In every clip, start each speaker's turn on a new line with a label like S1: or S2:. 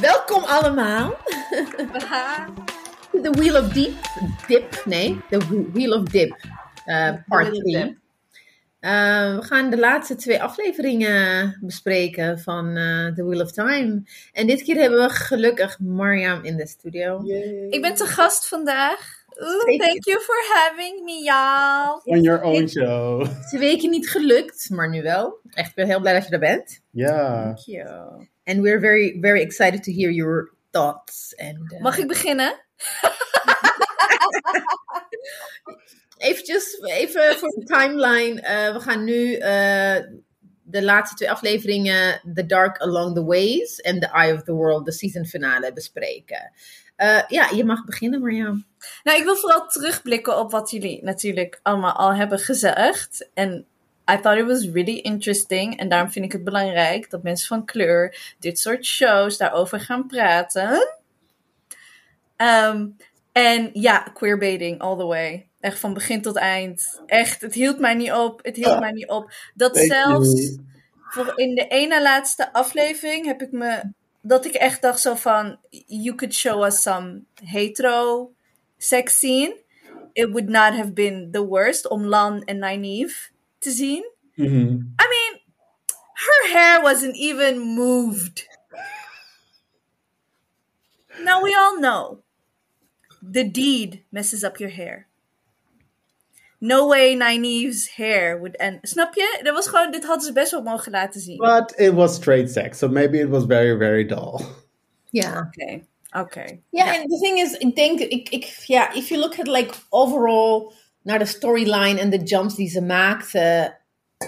S1: Welkom allemaal. The Wheel of Deep. Dip, nee. The Wheel of Dip. eh, part
S2: Wheel of
S1: 3.
S2: Dip.
S1: we gaan de laatste twee afleveringen bespreken van eh, The Wheel of Time. En dit keer hebben we gelukkig Mariam in de studio.
S2: Ik ben te gast vandaag. Oeh,
S1: Zeker.
S2: thank you for having me, y'all.
S3: On your own show.
S1: Twee weken niet gelukt, maar nu wel. Echt, ik ben heel blij dat je er bent.
S3: Ja.
S2: Thank you.
S1: And we're very, very excited to hear your thoughts. And, eh,
S2: Mag ik beginnen?
S1: Eventjes, even voor de timeline. Eh, we gaan nu eh, de laatste twee afleveringen, The Dark Along the Ways en The Eye of the World, de season finale, bespreken. Eh, ja, je mag beginnen, Marjam.
S2: Nou, ik wil vooral terugblikken op wat jullie natuurlijk allemaal al hebben gezegd. En I thought it was really interesting. En daarom vind ik het belangrijk dat mensen van kleur dit soort shows daarover gaan praten. Ehm, en ja, queerbaiting all the way. Echt van begin tot eind. Echt, het hield mij niet op. Het hield mij niet op. Dat
S3: Thank
S2: zelfs...
S3: you.
S2: voor in de ene laatste aflevering heb ik me dat ik echt dacht zo van you could show us some hetero sex scene. It would not have been the worst om Lan en Nynaeve te zien.
S3: Mhm.
S2: I mean, her hair wasn't even moved. Now we all know the deed messes up your hair. No way Nynaeve's hair would end. Snap je? Dat was gewoon, dit hadden ze best wel mogen laten zien. Oké,
S3: But it was straight sex, so maybe it was very, very dull.
S1: Ja.
S2: oké.
S1: Ja, en de thing is, ik denk, ik, ik, ja, if you look at like overall naar de storyline en de jumps die ze maakten,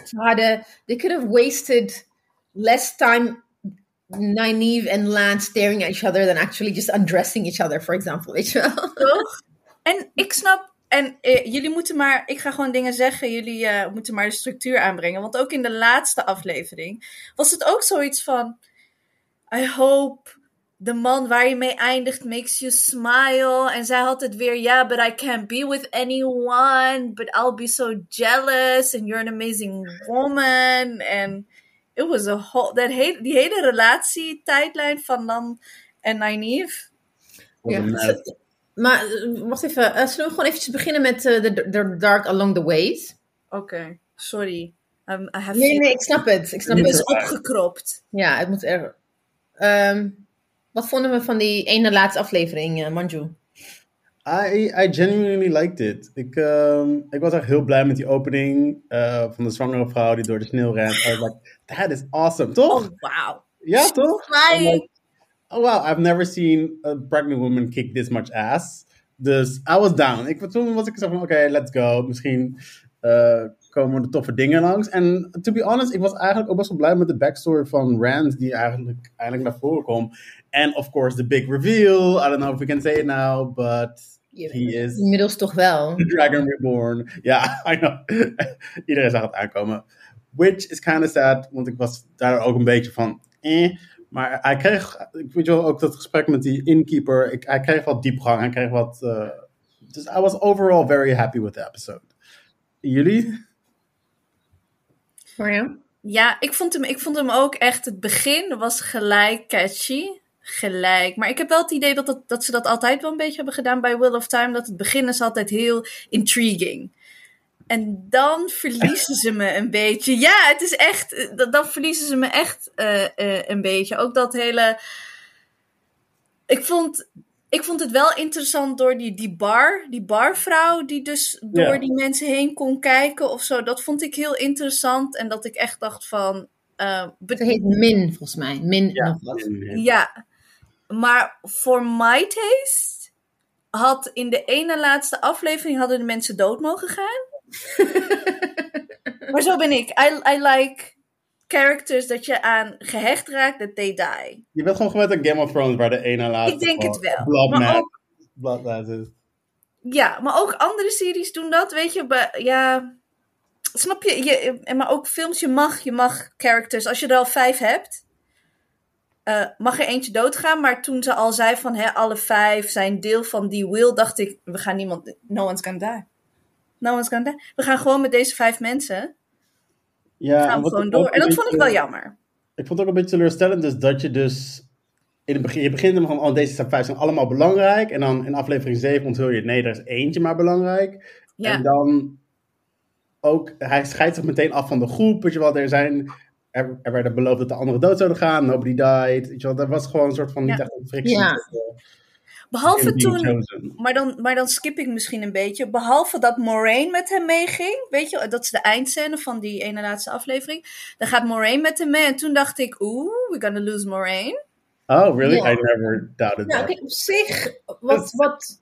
S1: ze hadden, they could have wasted less time Nynaeve and Lan staring at each other than actually just undressing each other, for example, weet je wel?
S2: Toch? En ik snap, en eh, jullie moeten maar, ik ga gewoon dingen zeggen, jullie eh, moeten maar de structuur aanbrengen. Want ook in de laatste aflevering was het ook zoiets van: I hope de man waar je mee eindigt makes you smile. En zij had het weer: Yeah, but I can't be with anyone, but I'll be so jealous, and you're an amazing woman. En. It was a whole, dat hele, die hele relatietijdlijn van Lan en Nynaeve.
S3: What a mess.
S1: Maar eh, wacht even, eh, zullen we gewoon eventjes beginnen met eh, de de Dark Along the Ways?
S2: Oké, sorry. Um, I have
S1: Nee, nee, ik snap het. Ik snap
S2: Dit
S1: het.
S2: is opgekropt.
S1: Ja, het moet er. Ehm, wat vonden we van die ene laatste aflevering, eh, Manju?
S3: I, I genuinely liked it. Ik, ehm, ik was echt heel blij met die opening eh, van de zwangere vrouw die door de sneeuw rent. I was like, that is awesome, toch?
S2: Oh, wauw.
S3: ja, toch?
S2: Flying.
S3: I'm like, oh wow, I've never seen a pregnant woman kick this much ass. Dus I was down. Ik, toen was ik zo van, oké, let's go. Misschien eh, komen er toffe dingen langs. En to be honest, ik was eigenlijk ook best wel blij met de backstory van Rand, die eigenlijk eindelijk naar voren kwam. En of course, the big reveal. I don't know if we can say it now, but he
S2: eh,
S3: is
S1: Inmiddels toch wel.
S3: the Dragon Reborn. Ja, I know. Iedereen zag het aankomen. Which is kind of sad, want ik was daar ook een beetje van. Eh. Maar hij kreeg, ik weet je wel, ook dat gesprek met die innkeeper. Ik, hij kreeg wat diepgang, hij kreeg wat. eh, dus I was overall very happy with the episode. Jullie?
S1: Mariam?
S2: Ja, ik vond, hem, ik vond hem ook echt. Het begin was gelijk catchy. Gelijk. Maar ik heb wel het idee dat, dat, dat ze dat altijd wel een beetje hebben gedaan bij Will of Time. Dat het begin is altijd heel intriguing. En dan verliezen ze me een beetje. Ja, het is echt. eh, Dan dan verliezen ze me echt eh, eh, een beetje. Ook dat hele. Ik vond, ik vond het wel interessant door die, die bar. Die barvrouw die dus door
S3: Ja.
S2: die mensen heen kon kijken of zo. Dat vond ik heel interessant. En dat ik echt dacht van. eh, but-
S1: Ze heet Min, volgens mij. Min nog wat.
S2: ja, maar voor my taste had in de ene laatste aflevering hadden de mensen dood mogen gaan. maar zo ben ik. I, I like characters dat je aan gehecht raakt, dat they die.
S3: Je bent gewoon gewend aan Game of Thrones, waar de ene laatste.
S2: Ik denk het wel. Maar
S3: Bloodman.
S2: ook,
S3: Bloodlazes.
S2: ja, maar ook andere series doen dat, weet je. bij- Ja, snap je? je? en Maar ook films, je mag, je mag characters. Als je er al vijf hebt, eh, mag er eentje doodgaan. Maar toen ze al zei van hè, alle vijf zijn deel van die will, dacht ik, we gaan niemand, no one's gonna die. No one's gonna die. We gaan gewoon met deze vijf mensen.
S3: Ja,
S2: Gaan
S3: en
S2: we
S3: wat
S2: gewoon
S3: ik
S2: door.
S3: ook
S2: En dat
S3: een
S2: vond ik
S3: beetje-
S2: wel jammer.
S3: Ik vond het ook een beetje teleurstellend, dus dat je dus... In het begin, je begint hem gewoon, oh, deze zijn vijf zijn allemaal belangrijk. En dan in aflevering 7 onthul je, nee, er is eentje maar belangrijk.
S2: Ja.
S3: En dan ook, hij scheidt zich meteen af van de groep. Weet je wel, er, zijn, er, er werden beloofd dat de anderen dood zouden gaan. Nobody died. Weet je wel, dat was gewoon een soort van niet
S2: Ja.
S3: echt een frictie.
S1: Ja.
S3: tussen
S2: Behalve
S3: Jim en
S2: toen,
S3: Chosen.
S2: maar dan, maar dan skip ik misschien een beetje. Behalve dat Moraine met hem meeging. Weet je, dat is de eindscène van die ene laatste aflevering. Dan gaat Moraine met hem mee. En toen dacht ik, oeh, we're gonna lose Moraine.
S3: Oh, really?
S1: Ja.
S3: I never doubted
S1: Nou,
S3: that.
S1: kijk, op zich, wat, wat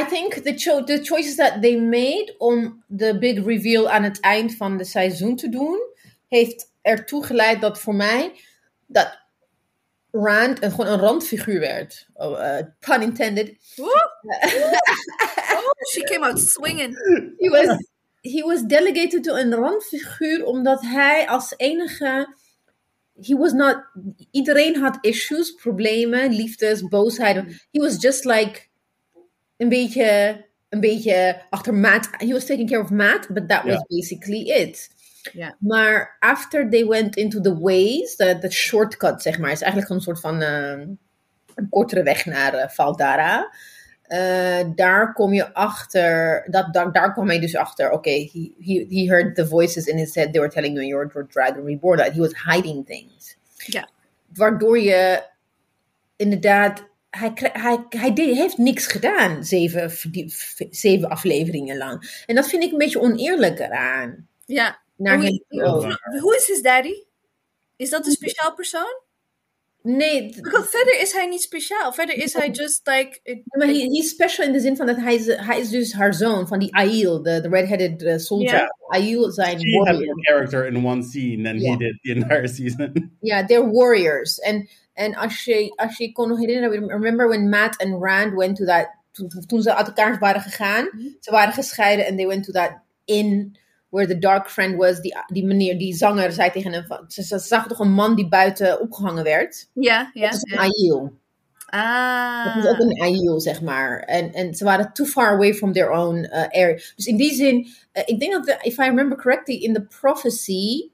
S1: I think the, cho the choices that they made om de big reveal aan het eind van de seizoen te doen, heeft ertoe geleid dat voor mij dat Rand een, gewoon een randfiguur werd. Oh, eh, pun intended.
S2: Woe! Oh, she came out swinging.
S1: He was, he was delegated to een randfiguur omdat hij als enige. He was not. Iedereen had issues, problemen, liefdes, boosheid. He was just like. Een beetje. Een beetje achter Maat. He was taking care of Maat, but that was
S3: Ja.
S1: basically it.
S2: Ja.
S1: Maar after they went into the ways, de de shortcut zeg maar, is eigenlijk een soort van. eh, een kortere weg naar eh, Valdara. Eh, daar kom je achter, dat, daar, daar kwam hij dus achter, oké, he, he, he heard the voices in his head, they were telling him you're a dragon reborn, that he was hiding things.
S2: Ja.
S1: Waardoor je inderdaad, hij, kri- hij, hij, deed, hij heeft niks gedaan, zeven, verdie- v- zeven afleveringen lang. En dat vind ik een beetje oneerlijk eraan.
S2: Ja.
S1: Naar
S2: Oei.
S1: hem toe.
S2: Hoe is his daddy? Is dat een speciaal persoon?
S1: Nee, d-
S2: Because verder is hij niet speciaal. Verder is hij just like... it-
S1: maar hij hij is special in de zin van dat hij is, hij is dus haar zoon van die Aiel, de, de red-headed eh, soldier.
S2: Ja.
S1: Aiel zijn
S3: She had
S1: warrior.
S3: more character in one scene than
S1: Ja.
S3: he did the entire season.
S1: Yeah, they're warriors. And and als je, als je kon nog herinneren, remember when Matt and Rand went to that, to- toen ze uit elkaar waren gegaan,
S2: Mm-hmm.
S1: ze waren gescheiden and they went to that inn where the dark friend was, die, die meneer, die zanger zei tegen hem, van, ze, ze zag toch een man die buiten opgehangen werd?
S2: Ja, ja.
S1: Dat is een
S2: ja.
S1: Aiel. Dat is
S2: Ah.
S1: ook een Aiel, zeg maar. En, en ze waren too far away from their own eh, area. Dus in die zin, eh, ik denk dat, de- if I remember correctly, in the prophecy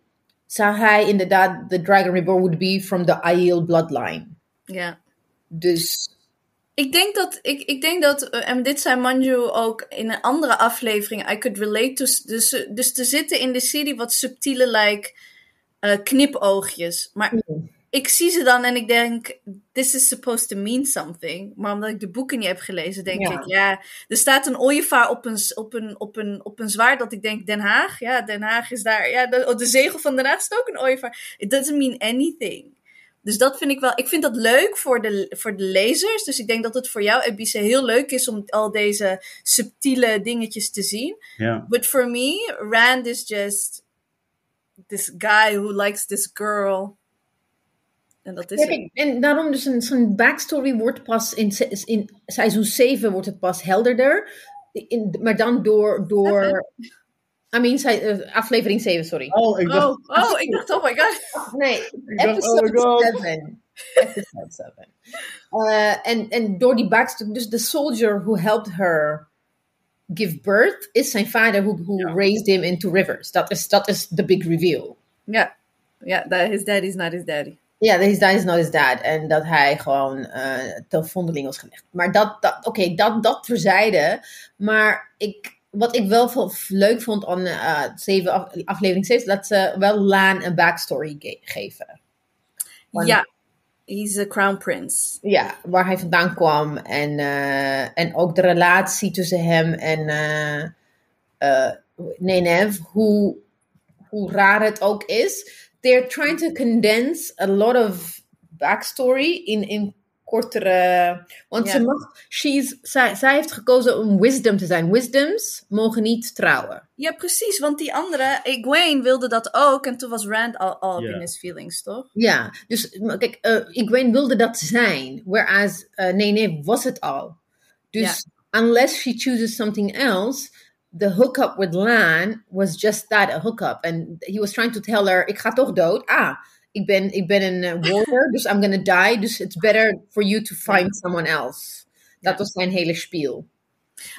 S1: zou hij inderdaad, the dragon reborn would be from the Aiel bloodline.
S2: Ja.
S1: Dus
S2: Ik denk dat, ik, ik denk dat eh, en dit zei Manju ook in een andere aflevering, I could relate to, s- dus, eh, dus er zitten in de serie wat subtiele, like, eh, knipoogjes. Maar ik zie ze dan en ik denk, this is supposed to mean something. Maar omdat ik de boeken niet heb gelezen, denk
S1: Ja.
S2: ik, ja, er staat een ooievaar op een, s- op, een, op, een, op een zwaard dat ik denk, Den Haag? Ja, Den Haag is daar. Ja, de, op de zegel van Den Haag staat ook een ooievaar. It doesn't mean anything. Dus dat vind ik wel, ik vind dat leuk voor de, voor de lezers. Dus ik denk dat het voor jou, Ebice, heel leuk is om al deze subtiele dingetjes te zien.
S3: Ja.
S2: But for me, Rand is just this guy who likes this girl. En dat is
S1: Ja,
S2: het.
S1: kijk, en daarom dus een, zo'n backstory wordt pas in, se- in seizoen 7 wordt het pas helderder. In, maar dan door, door I mean, se- eh, aflevering 7, sorry.
S3: Oh, ik dacht...
S2: Oh, oh, ik dacht, oh my god.
S1: Nee,
S3: dacht,
S1: episode
S3: oh my
S1: 7. Episode 7. Eh, en, en door die backstory, dus de soldier who helped her give birth is zijn vader who, who raised him into rivers. Dat is, dat is the big reveal.
S2: Ja, ja that, his daddy is not his daddy.
S1: Ja, dat is that is not his dad. En dat hij gewoon eh ten vondeling was gelegd. Maar dat, dat oké, dat, dat terzijde. Maar ik, wat ik wel veel f- leuk vond aan eh, zeven af- aflevering 6, dat ze wel Laan een backstory ge- geven. Want-
S2: Ja, he's a crown prince.
S1: Ja, waar hij vandaan kwam. En, eh, en ook de relatie tussen hem en eh eh, Nenev. Hoe, hoe raar het ook is. They're trying to condense a lot of backstory in, in kortere... Want
S2: Ja.
S1: ze mag, she's, zij, zij heeft gekozen om wisdom te zijn. Wisdoms mogen niet trouwen.
S2: Ja, precies, want die andere, Egwene wilde dat ook. En toen was Rand al, al
S3: Ja.
S2: in his feelings, toch?
S1: Ja, dus maar kijk, eh Egwene wilde dat zijn. Whereas eh Nene was het al. Dus unless she chooses something else, the hookup with Lan was just that, a hookup. And he was trying to tell her, ik ga toch dood. Ah, ik ben, ik ben een eh, warrior, dus I'm gonna die. Dus it's better for you to find someone else. Dat
S2: Ja.
S1: was zijn hele spiel.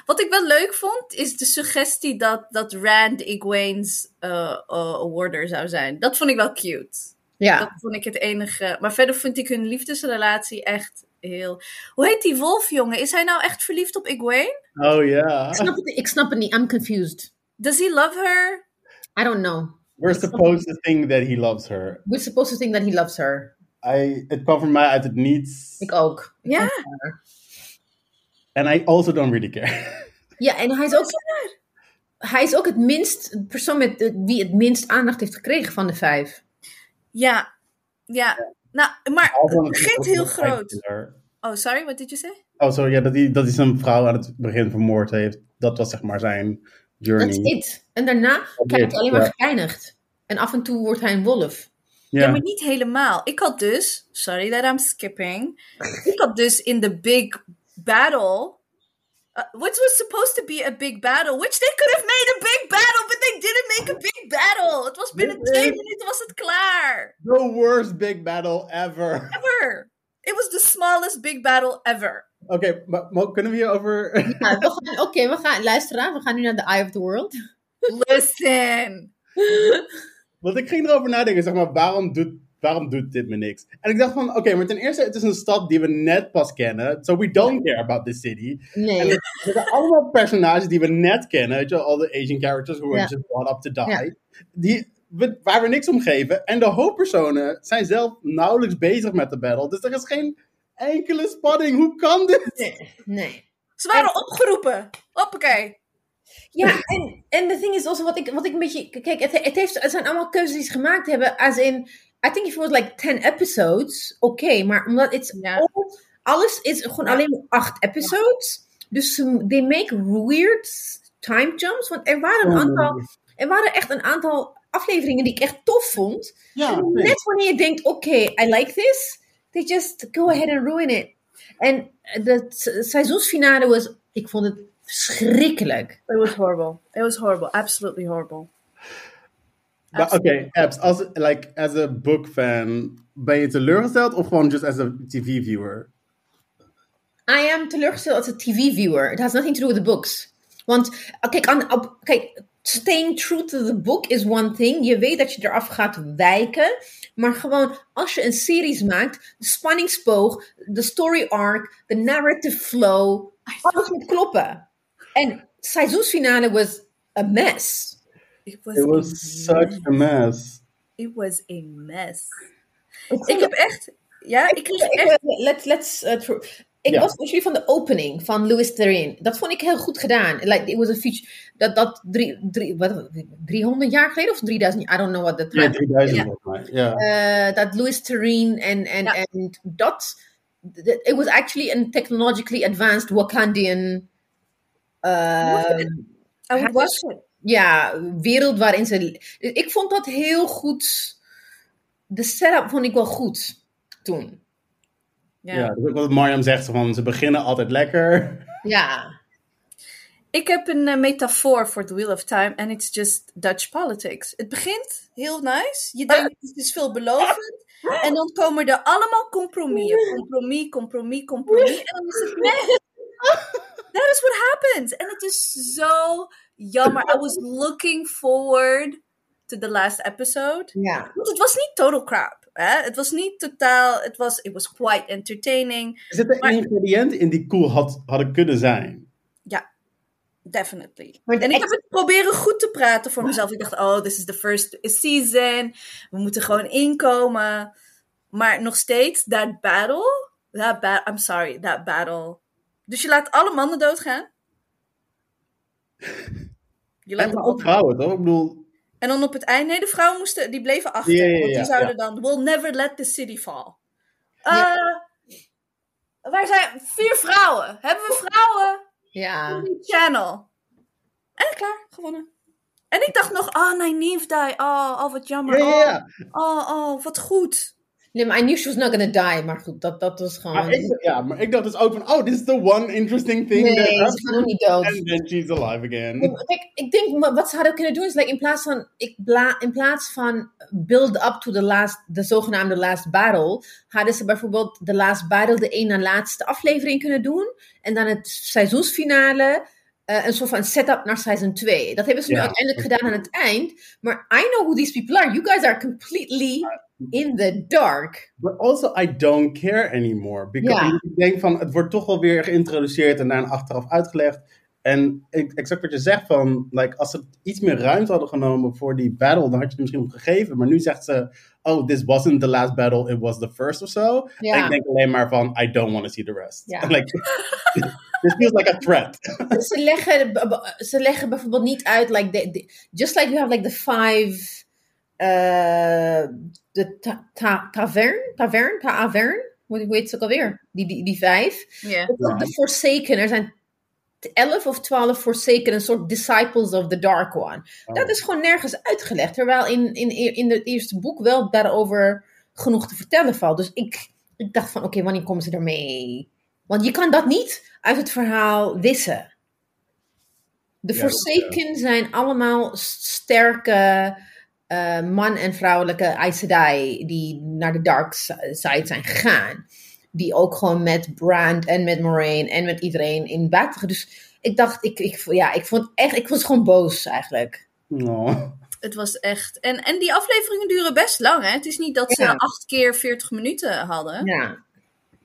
S2: Wat ik wel leuk vond, is de suggestie dat, dat Rand Egwene's eh eh, awarder zou zijn. Dat vond ik wel cute. Dat
S1: Ja.
S2: vond ik het enige. Maar verder vond ik hun liefdesrelatie echt heel... Hoe heet die wolf, jongen? Is hij nou echt verliefd op Egwene?
S3: Oh ja.
S1: Ik snap, het, ik snap het niet. I'm confused.
S2: Does he love her?
S1: I don't know.
S3: We're supposed to think that he loves her.
S1: We're supposed to think that he loves her.
S3: I, het kwam voor mij uit het niets.
S1: Ik ook.
S2: Ja.
S3: And I also don't really care.
S1: Ja, en hij is ook, hij is ook het minst, de persoon met de- die het minst aandacht heeft gekregen van de vijf.
S2: Ja. Ja. Nou, maar... Begint heel groot. Oh, sorry, what did you say?
S3: Oh, sorry. Ja, dat hij, dat hij zijn vrouw aan het begin vermoord heeft. Dat was zeg maar zijn
S1: Dat is
S3: journey.
S1: het. En daarna
S3: Oké,
S1: krijgt hij alleen maar
S3: ja.
S1: gepijnigd. En af en toe wordt hij een wolf.
S3: Ja.
S2: Ja. maar niet helemaal. Ik had dus, sorry that I'm skipping. ik had dus in the big battle. Uh, which was supposed to be a big battle, which they could have made a big battle, but they didn't make a big battle. Het was binnen
S3: Dit is-
S2: twee minuten was het klaar.
S3: The worst big battle ever.
S2: Ever. It was the smallest big battle ever.
S3: Oké, maar, maar kunnen we hierover...
S1: Ja, Nou, we gaan, oké, we gaan luisteren. We gaan nu naar The Eye of the World.
S2: Listen.
S3: Want ik ging erover nadenken, zeg maar, waarom doet, waarom doet dit me niks? En ik dacht van, oké, maar ten eerste, het is een stad die we net pas kennen. So we don't care about this city.
S1: Nee.
S3: Er zijn allemaal personages die we net kennen. Weet je wel, all the Asian characters who were
S1: Ja.
S3: just brought up to
S1: Ja.
S3: die. Die, we- waar we niks om geven. En de hoofdpersonen zijn zelf nauwelijks bezig met de battle. Dus er is geen enkele spanning. Hoe kan dit?
S1: Nee. nee.
S2: Ze waren opgeroepen. Hoppakee.
S1: Ja, en, en the thing is also, wat ik, wat ik een beetje... Kijk, het, het, heeft, het zijn allemaal keuzes die ze gemaakt hebben. As in, I think if it was like 10 episodes, oké. maar omdat it's
S2: Ja.
S1: all- alles is gewoon
S2: Ja.
S1: alleen maar acht episodes. Dus ze- they make weird time jumps. Want er waren,
S2: Oh.
S1: een aantal, er waren echt een aantal afleveringen die ik echt tof vond.
S3: Ja,
S1: En
S3: nee.
S1: net wanneer je denkt, oké, I like this. They just go ahead and ruin it. En het seizoensfinale was... Ik vond het verschrikkelijk.
S2: It was horrible. It was horrible. Absolutely horrible.
S3: Maar oké, Abs, als, like, as a book fan, ben je teleurgesteld of gewoon just as a TV viewer?
S1: I am teleurgesteld als een TV-viewer. It has nothing to do with the books. Want, eh, kijk, aan, op, kijk, staying true to the book is one thing. Je weet dat je eraf gaat wijken. Maar gewoon, als je een series maakt, de spanningsboog, de story arc, de narrative flow, alles moet kloppen. En seizoensfinale was a mess.
S2: It was,
S3: It
S2: a
S3: was such a mess.
S2: It was a mess.
S1: Ik
S2: Ik
S1: vond
S2: heb echt. Ja, ik kreeg Dus echt.
S1: Ik, eh, let, let's, eh, through. ik
S3: Ja.
S1: was natuurlijk van de opening van Louis Therin. Dat vond ik heel goed gedaan. Like, it was a feature, dat, dat drie, drie, wat, 300 jaar geleden of 3000 jaar, I don't know what the
S3: Ja,
S1: time.
S3: 3000
S2: Ja.
S3: volgens mij. Ja.
S1: Eh, dat Louis Therin en, en,
S2: Ja.
S1: en dat, dat- it was actually a technologically advanced Wakandian eh,
S2: I would watch it.
S1: ja, wereld waarin ze. Dus ik vond dat heel goed. De setup vond ik wel goed toen.
S2: Ja.
S3: Ja. dat is ook wat Mariam zegt, zo van, ze beginnen altijd lekker.
S1: Ja.
S2: Ik heb een eh, metafoor voor The Wheel of Time en it's just Dutch politics. Het begint heel nice. Je denkt het is veelbelovend. En dan komen er allemaal compromissen. Compromis, compromis, compromis. En dan is het weg. That is what happens. En het is zo jammer. I was looking forward to the last episode.
S1: ja.
S2: Want het was niet total crap. Hè? Het was niet totaal. Het was, it was quite entertaining.
S3: Er zit een
S2: Maar-
S3: ingrediënt in die cool had, hadden kunnen zijn.
S2: Definitely.
S1: Maar de
S2: en ik
S1: ex-
S2: heb het proberen goed te praten voor mezelf. Ik dacht, oh, this is the first season. We moeten gewoon inkomen. Maar nog steeds, that battle. That ba- I'm sorry, that battle. Dus je laat alle mannen doodgaan? Je laat
S3: En
S2: hem
S3: ook vrouwen, toch? Ik bedoel,
S2: En dan op het eind, nee, de vrouwen moesten, die bleven achter.
S3: Ja, ja, ja,
S2: want
S3: ja.
S2: die zouden dan, we'll never let the city fall. Eh, Waar zijn vier vrouwen? Hebben we vrouwen?
S1: Ja.
S2: Disney Channel. En klaar, gewonnen. En ah, ik dacht nog, oh, Nynaeve die. Oh, oh wat
S3: ja,
S2: jammer.
S3: ja, ja.
S2: Oh, oh, oh, wat goed.
S1: Nee, maar I knew she was not gonna die. Maar goed, dat, dat was gewoon...
S3: Maar ik, ja, maar ik dacht dus ook van, oh, this is the one interesting thing that
S1: nee, ze is
S3: happened.
S1: gewoon niet dood.
S3: And then she's alive again.
S1: Kijk, ik denk maar wat ze hadden kunnen doen is like, in plaats van ik bla, in plaats van build up to the last, de zogenaamde last battle, hadden ze bijvoorbeeld de last battle de een na laatste aflevering kunnen doen en dan het seizoensfinale eh, een soort van setup naar seizoen 2. Dat hebben ze nu
S3: Ja.
S1: uiteindelijk gedaan aan het eind, maar I know who these people are. You guys are completely in the dark.
S3: But also, I don't care anymore. Because
S1: Ja.
S3: ik denk van, het wordt toch wel weer geïntroduceerd en daarna achteraf uitgelegd. En ik- exact wat je zegt van, like, als ze iets meer ruimte hadden genomen voor die battle, dan had je het misschien nog gegeven. Maar nu zegt ze, oh, this wasn't the last battle, it was the first of so. En ik
S1: Ja.
S3: denk alleen maar van, I don't want to see the rest.
S1: Ja.
S3: Like, this feels like a threat.
S1: ze, leggen, b- b- ze leggen bijvoorbeeld niet uit, like the, the- just like you have like the five, eh, de ta, ta, tavern, tavern, tavern, hoe hoe heet ze ook alweer? Die, die, die vijf.
S2: Ja.
S1: Ook
S3: Ja.
S1: de Forsaken, er zijn t- elf of twaalf Forsaken, een soort disciples of the Dark One. Dat is gewoon nergens uitgelegd, terwijl in, in, in het eerste boek wel daarover genoeg te vertellen valt. Dus ik, ik dacht van, oké, wanneer komen ze daarmee? Want je kan dat niet uit het verhaal wissen. De
S3: Ja, dat eh, is,
S1: Forsaken zijn allemaal s- sterke eh, man- en vrouwelijke Aes Sedai die naar de dark s- side zijn gegaan. Die ook gewoon met Brand en met Moraine en met iedereen in battle. Dus ik dacht, ik, ik, ja, ik vond echt, ik was gewoon boos eigenlijk.
S3: Oh.
S2: Het was echt. En, en die afleveringen duren best lang, hè? Het is niet dat ze
S1: Ja.
S2: acht keer 40 minuten hadden.
S1: Ja,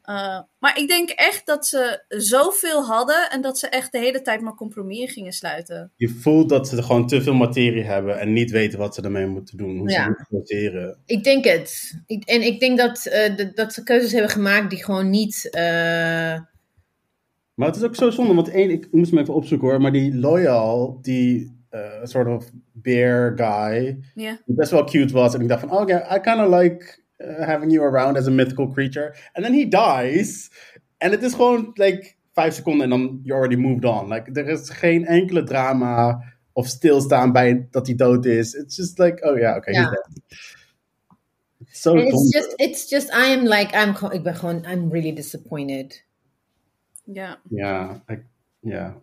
S2: Eh, maar ik denk echt dat ze zoveel hadden en dat ze echt de hele tijd maar compromissen gingen sluiten.
S3: Je voelt dat ze gewoon te veel materie hebben en niet weten wat ze ermee moeten doen. Hoe
S1: Ja.
S3: ze moeten sorteren.
S1: ik denk het. Ik, en ik denk dat, eh, dat- dat ze keuzes hebben gemaakt die gewoon niet. eh,
S3: Maar het is ook zo zonde, want één, ik moest hem even opzoeken hoor, maar die Loyal, die eh soort of bear guy,
S2: Ja.
S3: die best wel cute was. En ik dacht van, oh yeah, I kind of like eh, having you around as a mythical creature. And then he dies. En het is gewoon, like, vijf seconden en dan you already moved on. Like, er is geen enkele drama of stilstaan bij dat hij dood is. It's just like, oh yeah, okay,
S1: Ja.
S3: he's dead. It's Zo
S1: and it's
S3: zonde.
S1: just, it's just, I am like, I'm, gewoon- ik ben gewoon, I'm really disappointed.
S2: Ja.
S3: Yeah, I, yeah.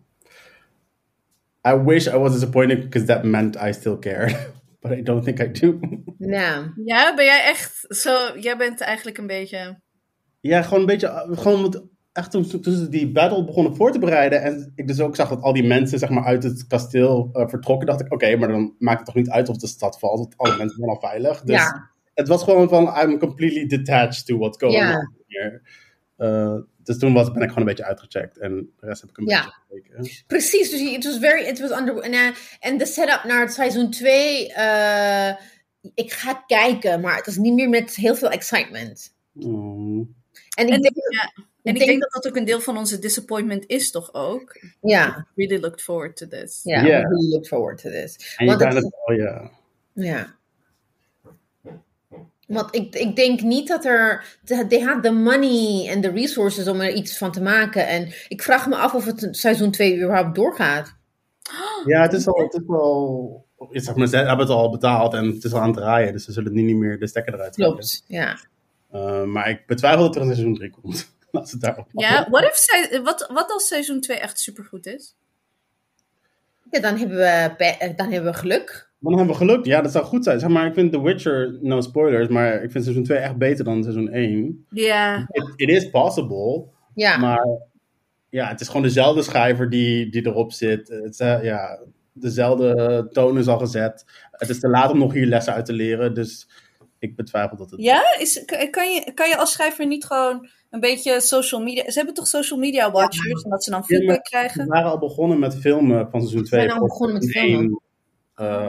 S3: I wish I was disappointed because that meant I still cared, but I don't think I do.
S1: Nou.
S2: ja, ben jij echt zo... Jij bent eigenlijk een beetje...
S3: ja, gewoon een beetje, uh, gewoon wat- echt toen, toen ze die battle begonnen voor te bereiden en ik dus ook zag dat al die mensen zeg maar uit het kasteel eh, vertrokken, dacht ik, oké, maar dan maakt het toch niet uit of de stad valt, want alle mensen zijn al veilig. Dus
S1: Ja.
S3: het was gewoon van, I'm completely detached to what's going
S1: Ja.
S3: on here. Eh, dus toen was, ben ik gewoon een beetje uitgecheckt en de rest heb ik een
S1: Ja.
S3: beetje gekeken.
S1: Precies, dus het was very, it was under, en, eh, en de setup naar het seizoen 2, eh, ik ga kijken, maar het was niet meer met heel veel excitement.
S3: Oh.
S1: En ik
S2: En-
S1: denk,
S2: ja. En
S1: ik
S2: ik denk,
S1: denk-
S2: dat dat ook een deel van onze disappointment is, toch ook?
S1: ja,
S2: Really looked forward to this.
S1: ja,
S3: Ja.
S1: we really look forward to this.
S3: En je
S1: Want
S3: kan
S1: het-
S3: het wel, ja.
S1: Ja. Want ik, ik denk niet dat er. de- They had the money en de resources om er iets van te maken. En ik vraag me af of het seizoen 2 überhaupt doorgaat.
S3: Ja, het is al, het is al ik zeg maar, ze hebben het al betaald en het is al aan het draaien, dus ze zullen nu niet meer de stekker eruit trekken.
S1: Klopt. Ja.
S3: Eh, maar ik betwijfel dat er een seizoen 3 komt. Laat ze daarop.
S2: Ja, what if zij- wat, wat als seizoen 2 echt supergoed is?
S1: ja dan, hebben we, pe- eh, dan hebben we geluk.
S3: Dan hebben we geluk. Ja, dat zou goed zijn. Zeg maar, ik vind The Witcher, no spoilers, maar ik vind seizoen 2 echt beter dan seizoen 1.
S2: Ja,
S3: It, it is possible,
S1: Ja.
S3: maar ja, het is gewoon dezelfde schrijver die, die erop zit. Het is, eh, ja, dezelfde toon is al gezet. Het is te laat om nog hier lessen uit te leren, dus ik betwijfel dat het...
S2: Ja? Is, k- kan, je, kan je als schrijver niet gewoon een beetje social media... Ze hebben toch social media watchers en dat ze dan feedback
S3: Ja, maar-
S2: krijgen?
S3: We waren al begonnen met filmen van seizoen 2.
S1: zijn al begonnen met filmen.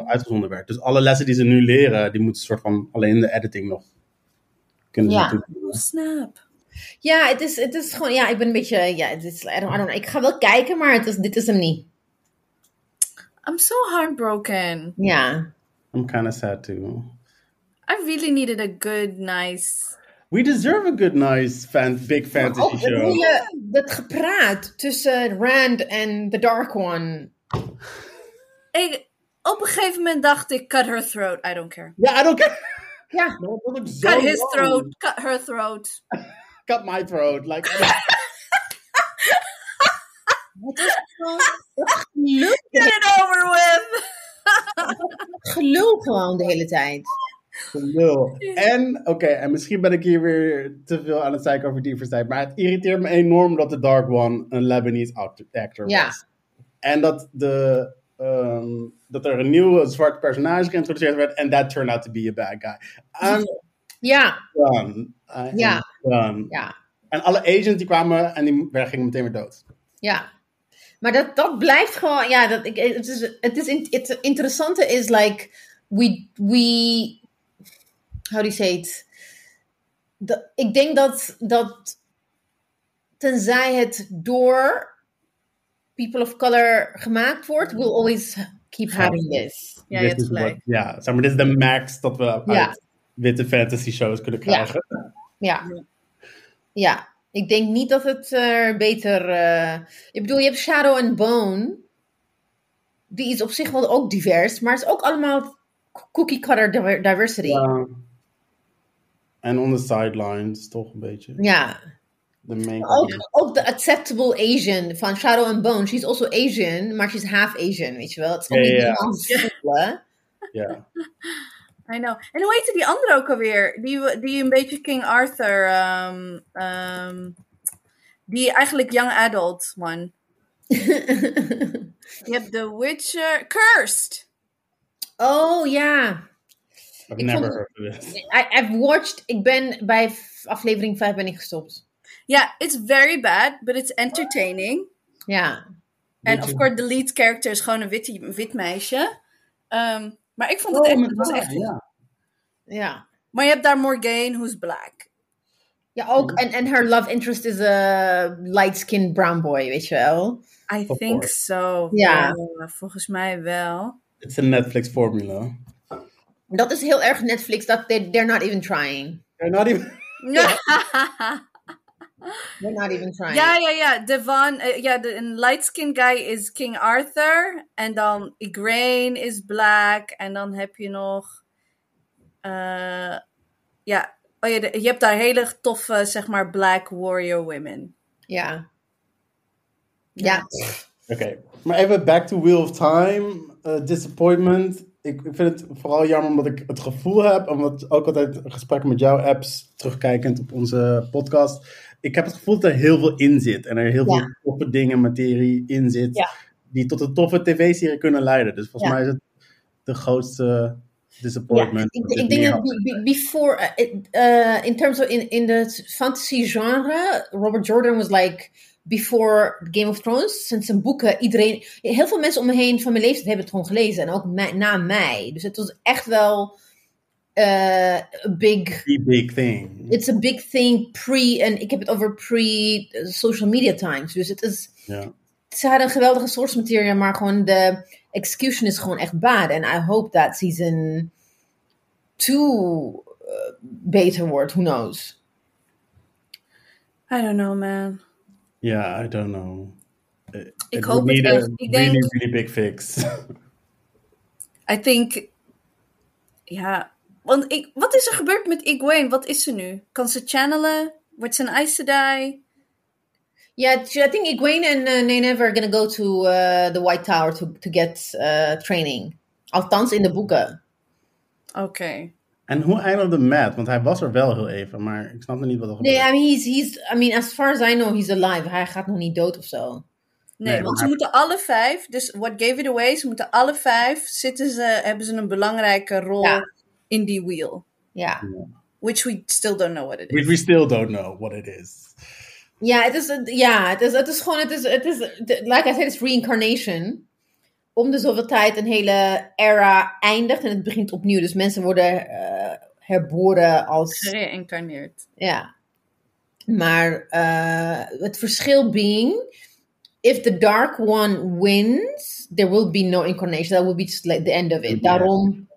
S3: uitgezonden werd. Dus alle lessen die ze nu leren, die moeten soort van alleen in de editing nog kunnen
S1: Ja.
S3: ja.
S2: Oh, snap.
S1: ja, het is, het is gewoon. Ja, ik ben een beetje. Ja, het is, I don't, I don't know. Ik ga wel kijken, maar het is, dit is hem niet.
S2: I'm so heartbroken.
S1: Ja.
S3: I'm kind of sad too.
S2: I really needed a good, nice...
S3: We deserve a good, nice, fan, big fantasy
S1: Ook het
S3: show.
S1: hele- dat gepraat tussen Rand en The Dark One.
S2: Ik, op een gegeven moment dacht ik, cut her throat, I don't care.
S3: Ja, I don't care.
S1: Ja.
S3: Maar dat was ook zo
S2: Cut his
S3: lang.
S2: throat, cut her throat.
S3: Cut my throat. Like,
S1: Wat is gewoon dat gelul,
S2: Get it over with!
S1: gelul gewoon de hele tijd.
S3: Lul. En, oké, en misschien ben ik hier weer te veel aan het zeiken over diversiteit, maar het irriteert me enorm dat de Dark One een Lebanese act- actor
S1: Ja.
S3: was. En dat, de, ehm, dat er een nieuw zwart personage geïntroduceerd werd en that turned out to be a bad guy. I'm
S1: Ja,
S3: done. I am
S1: Ja.
S3: done.
S1: ja,
S3: En alle agents die kwamen en die werden- gingen meteen weer dood.
S1: ja. Maar dat, dat blijft gewoon, ja, dat, ik, het, is, het, is in- het interessante is like, we, we, how do you say it? Dat- ik denk dat, dat tenzij het door people of color gemaakt wordt, we'll always keep having this.
S2: Ja, je
S3: Dit
S2: hebt
S3: is wat-
S2: gelijk.
S3: Ja, zeg maar, dit is de max dat we uit
S1: Ja.
S3: witte fantasy shows kunnen
S1: Ja.
S3: krijgen.
S1: Ja. Ja. Ik denk niet dat het eh, beter. eh, ik bedoel, je hebt Shadow and Bone. Die is op zich wel ook divers, maar het is ook allemaal cookie cutter diver- diversity. Ja.
S3: Ja. En on the sidelines, toch een beetje. De main
S1: Ook, ook de acceptable Asian van Shadow and Bone. She's also Asian, maar she's half Asian, weet je wel. Het is ook
S3: Ja,
S1: niet
S3: ja, ja.
S1: Nederlands voelen.
S3: Ja.
S2: I know. En hoe heette die andere ook alweer? Die, we- die een beetje King Arthur. ehm, ehm, die eigenlijk young adult one. Je hebt The Witcher. Cursed!
S1: oh ja.
S3: I've
S1: Ik
S3: never
S1: vond-
S3: heard of this.
S1: I, I've watched. Ik ben bij f- aflevering 5 ben ik gestopt.
S2: Ja, it's very bad, but it's entertaining.
S1: Ja.
S2: En
S3: Weet
S2: of
S3: je-
S2: course, de lead character is gewoon een wit, wit meisje. Ehm, maar ik vond het
S3: Oh,
S2: echt,
S3: met
S2: het was
S3: haar,
S2: echt goed.
S3: ja.
S1: Ja.
S2: Maar je hebt daar Morgane, who's black.
S1: Ja, ook. En, en her love interest is a light-skinned brown boy, weet je wel.
S2: I
S3: Of
S2: think
S3: course.
S2: so.
S1: Ja.
S2: Ja, volgens mij wel.
S3: It's a Netflix formula.
S1: Dat is heel erg Netflix, dat they, they're not even trying.
S3: They're not even...
S1: They're not even trying.
S2: Ja, ja, ja. Devon, eh, ja, de, een light-skinned guy is King Arthur. En dan Igraine is black. En dan heb je nog... eh, ja, oh, ja de- je hebt daar hele toffe, zeg maar, black warrior women.
S1: Ja. Ja.
S3: Oké, maar even back to Wheel of Time. eh, disappointment. Ik, ik vind het vooral jammer omdat ik het gevoel heb, omdat ook altijd gesprekken met jou, apps, terugkijkend op onze podcast. Ik heb het gevoel dat er heel veel in zit en er heel
S1: Ja.
S3: veel toffe dingen, materie in zit,
S1: Ja.
S3: die tot een toffe tv-serie kunnen leiden. Dus volgens
S1: Ja.
S3: mij is het de grootste
S1: Ja.
S3: disappointment.
S1: Ik,
S3: dit
S1: ik denk
S3: meer
S1: dat
S3: had.
S1: be- be- before, eh, it- eh, in terms of in, in the fantasy genre, Robert Jordan was like, before Game of Thrones, sinds zijn boeken, iedereen, heel veel mensen om me heen van mijn leeftijd hebben het gewoon gelezen. En ook mij- na mij. Dus het was echt wel eh a big
S3: The big thing.
S1: it's a big thing pre en ik heb het over pre eh, social media times. Dus het is
S3: Ja.
S1: ze hadden een geweldige source material, maar gewoon de execution is gewoon echt bad. En I hope that season 2 eh, beter wordt. Who knows?
S2: I don't know, man.
S3: Ja, I don't know. Ik eh,
S2: hoop het echt. Ik
S3: really,
S2: denk-
S3: really big fix.
S2: I think... Ja, want ik, wat is er gebeurd met Igraine? Wat is ze nu? Kan ze channelen? Wordt ze een Aes Sedai?
S1: Ja, I think Egwene en uh, Neneve are gonna go to eh, the White Tower to, to get eh, training. Althans in de boeken.
S2: Oké.
S3: En hoe eindigde Matt? Want hij was er wel heel even, maar ik snapte niet wat er
S1: Nee,
S3: gebeurde.
S1: I mean, he's, he's, I mean, as far as I know, he's alive. Hij gaat nog niet dood of zo.
S2: Nee,
S3: Nee,
S2: want ze
S3: maar-
S2: moeten alle vijf, dus what gave it away, ze moeten alle vijf, zitten ze, hebben ze een belangrijke rol
S1: Ja.
S2: in die wheel.
S1: Ja.
S2: Which we still don't know what it
S3: We,
S2: is.
S3: we still don't know what it is.
S1: Ja, het is, ja, het is, het is gewoon, het is, het is, like I said, it's reincarnation. Om de zoveel tijd een hele era eindigt en het begint opnieuw. Dus mensen worden eh, herboren als,
S2: Gereïncarneerd.
S1: ja. Maar eh, het verschil being, if the dark one wins, there will be no incarnation. That will be just like the end of it. Daarom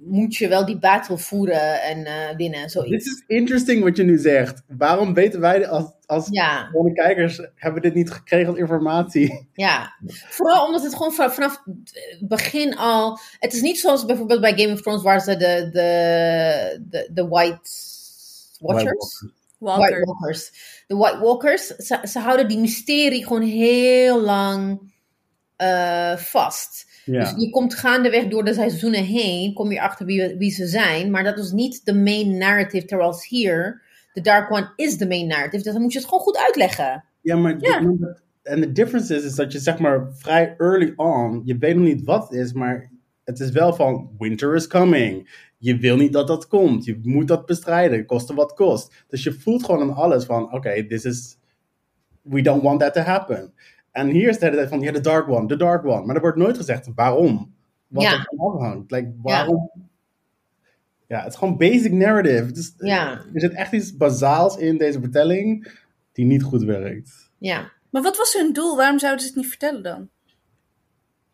S1: moet je wel die battle voeren en eh, winnen en
S3: Dit
S1: zoiets.
S3: is interesting wat je nu zegt. Waarom weten wij als, als
S1: Ja,
S3: gewone kijkers hebben we dit niet gekregen als informatie?
S1: ja. Vooral omdat het gewoon va- vanaf het begin al... Het is niet zoals bijvoorbeeld bij Game of Thrones waar ze de, de, de, de White Watchers...
S2: Walker.
S1: White Walkers. De White Walkers, ze, ze houden die mysterie gewoon heel lang eh, vast. Dus
S3: Ja.
S1: je komt gaandeweg door de seizoenen heen, kom je achter wie, wie ze zijn. Maar dat is niet de main narrative, terwijl als hier, de Dark One is de main narrative. Dus dan moet je het gewoon goed uitleggen.
S3: ja, maar
S2: Ja.
S3: de- en de difference is, is dat je zeg maar vrij early on, je weet nog niet wat het is, maar het is wel van winter is coming. Je wil niet dat dat komt. Je moet dat bestrijden, koste wat kost. Dus je voelt gewoon aan alles van, oké, this is, we don't want that to happen. En hier is de hele tijd van, ja, de dark one, de dark one. Maar er wordt nooit gezegd waarom. Wat
S1: Ja.
S3: er van afhangt. Like, waarom? Ja. het is gewoon basic narrative. Het is-
S1: Ja,
S3: Er zit echt iets bazaals in deze vertelling die niet goed werkt.
S1: ja.
S2: Maar wat was hun doel? Waarom zouden ze het niet vertellen dan?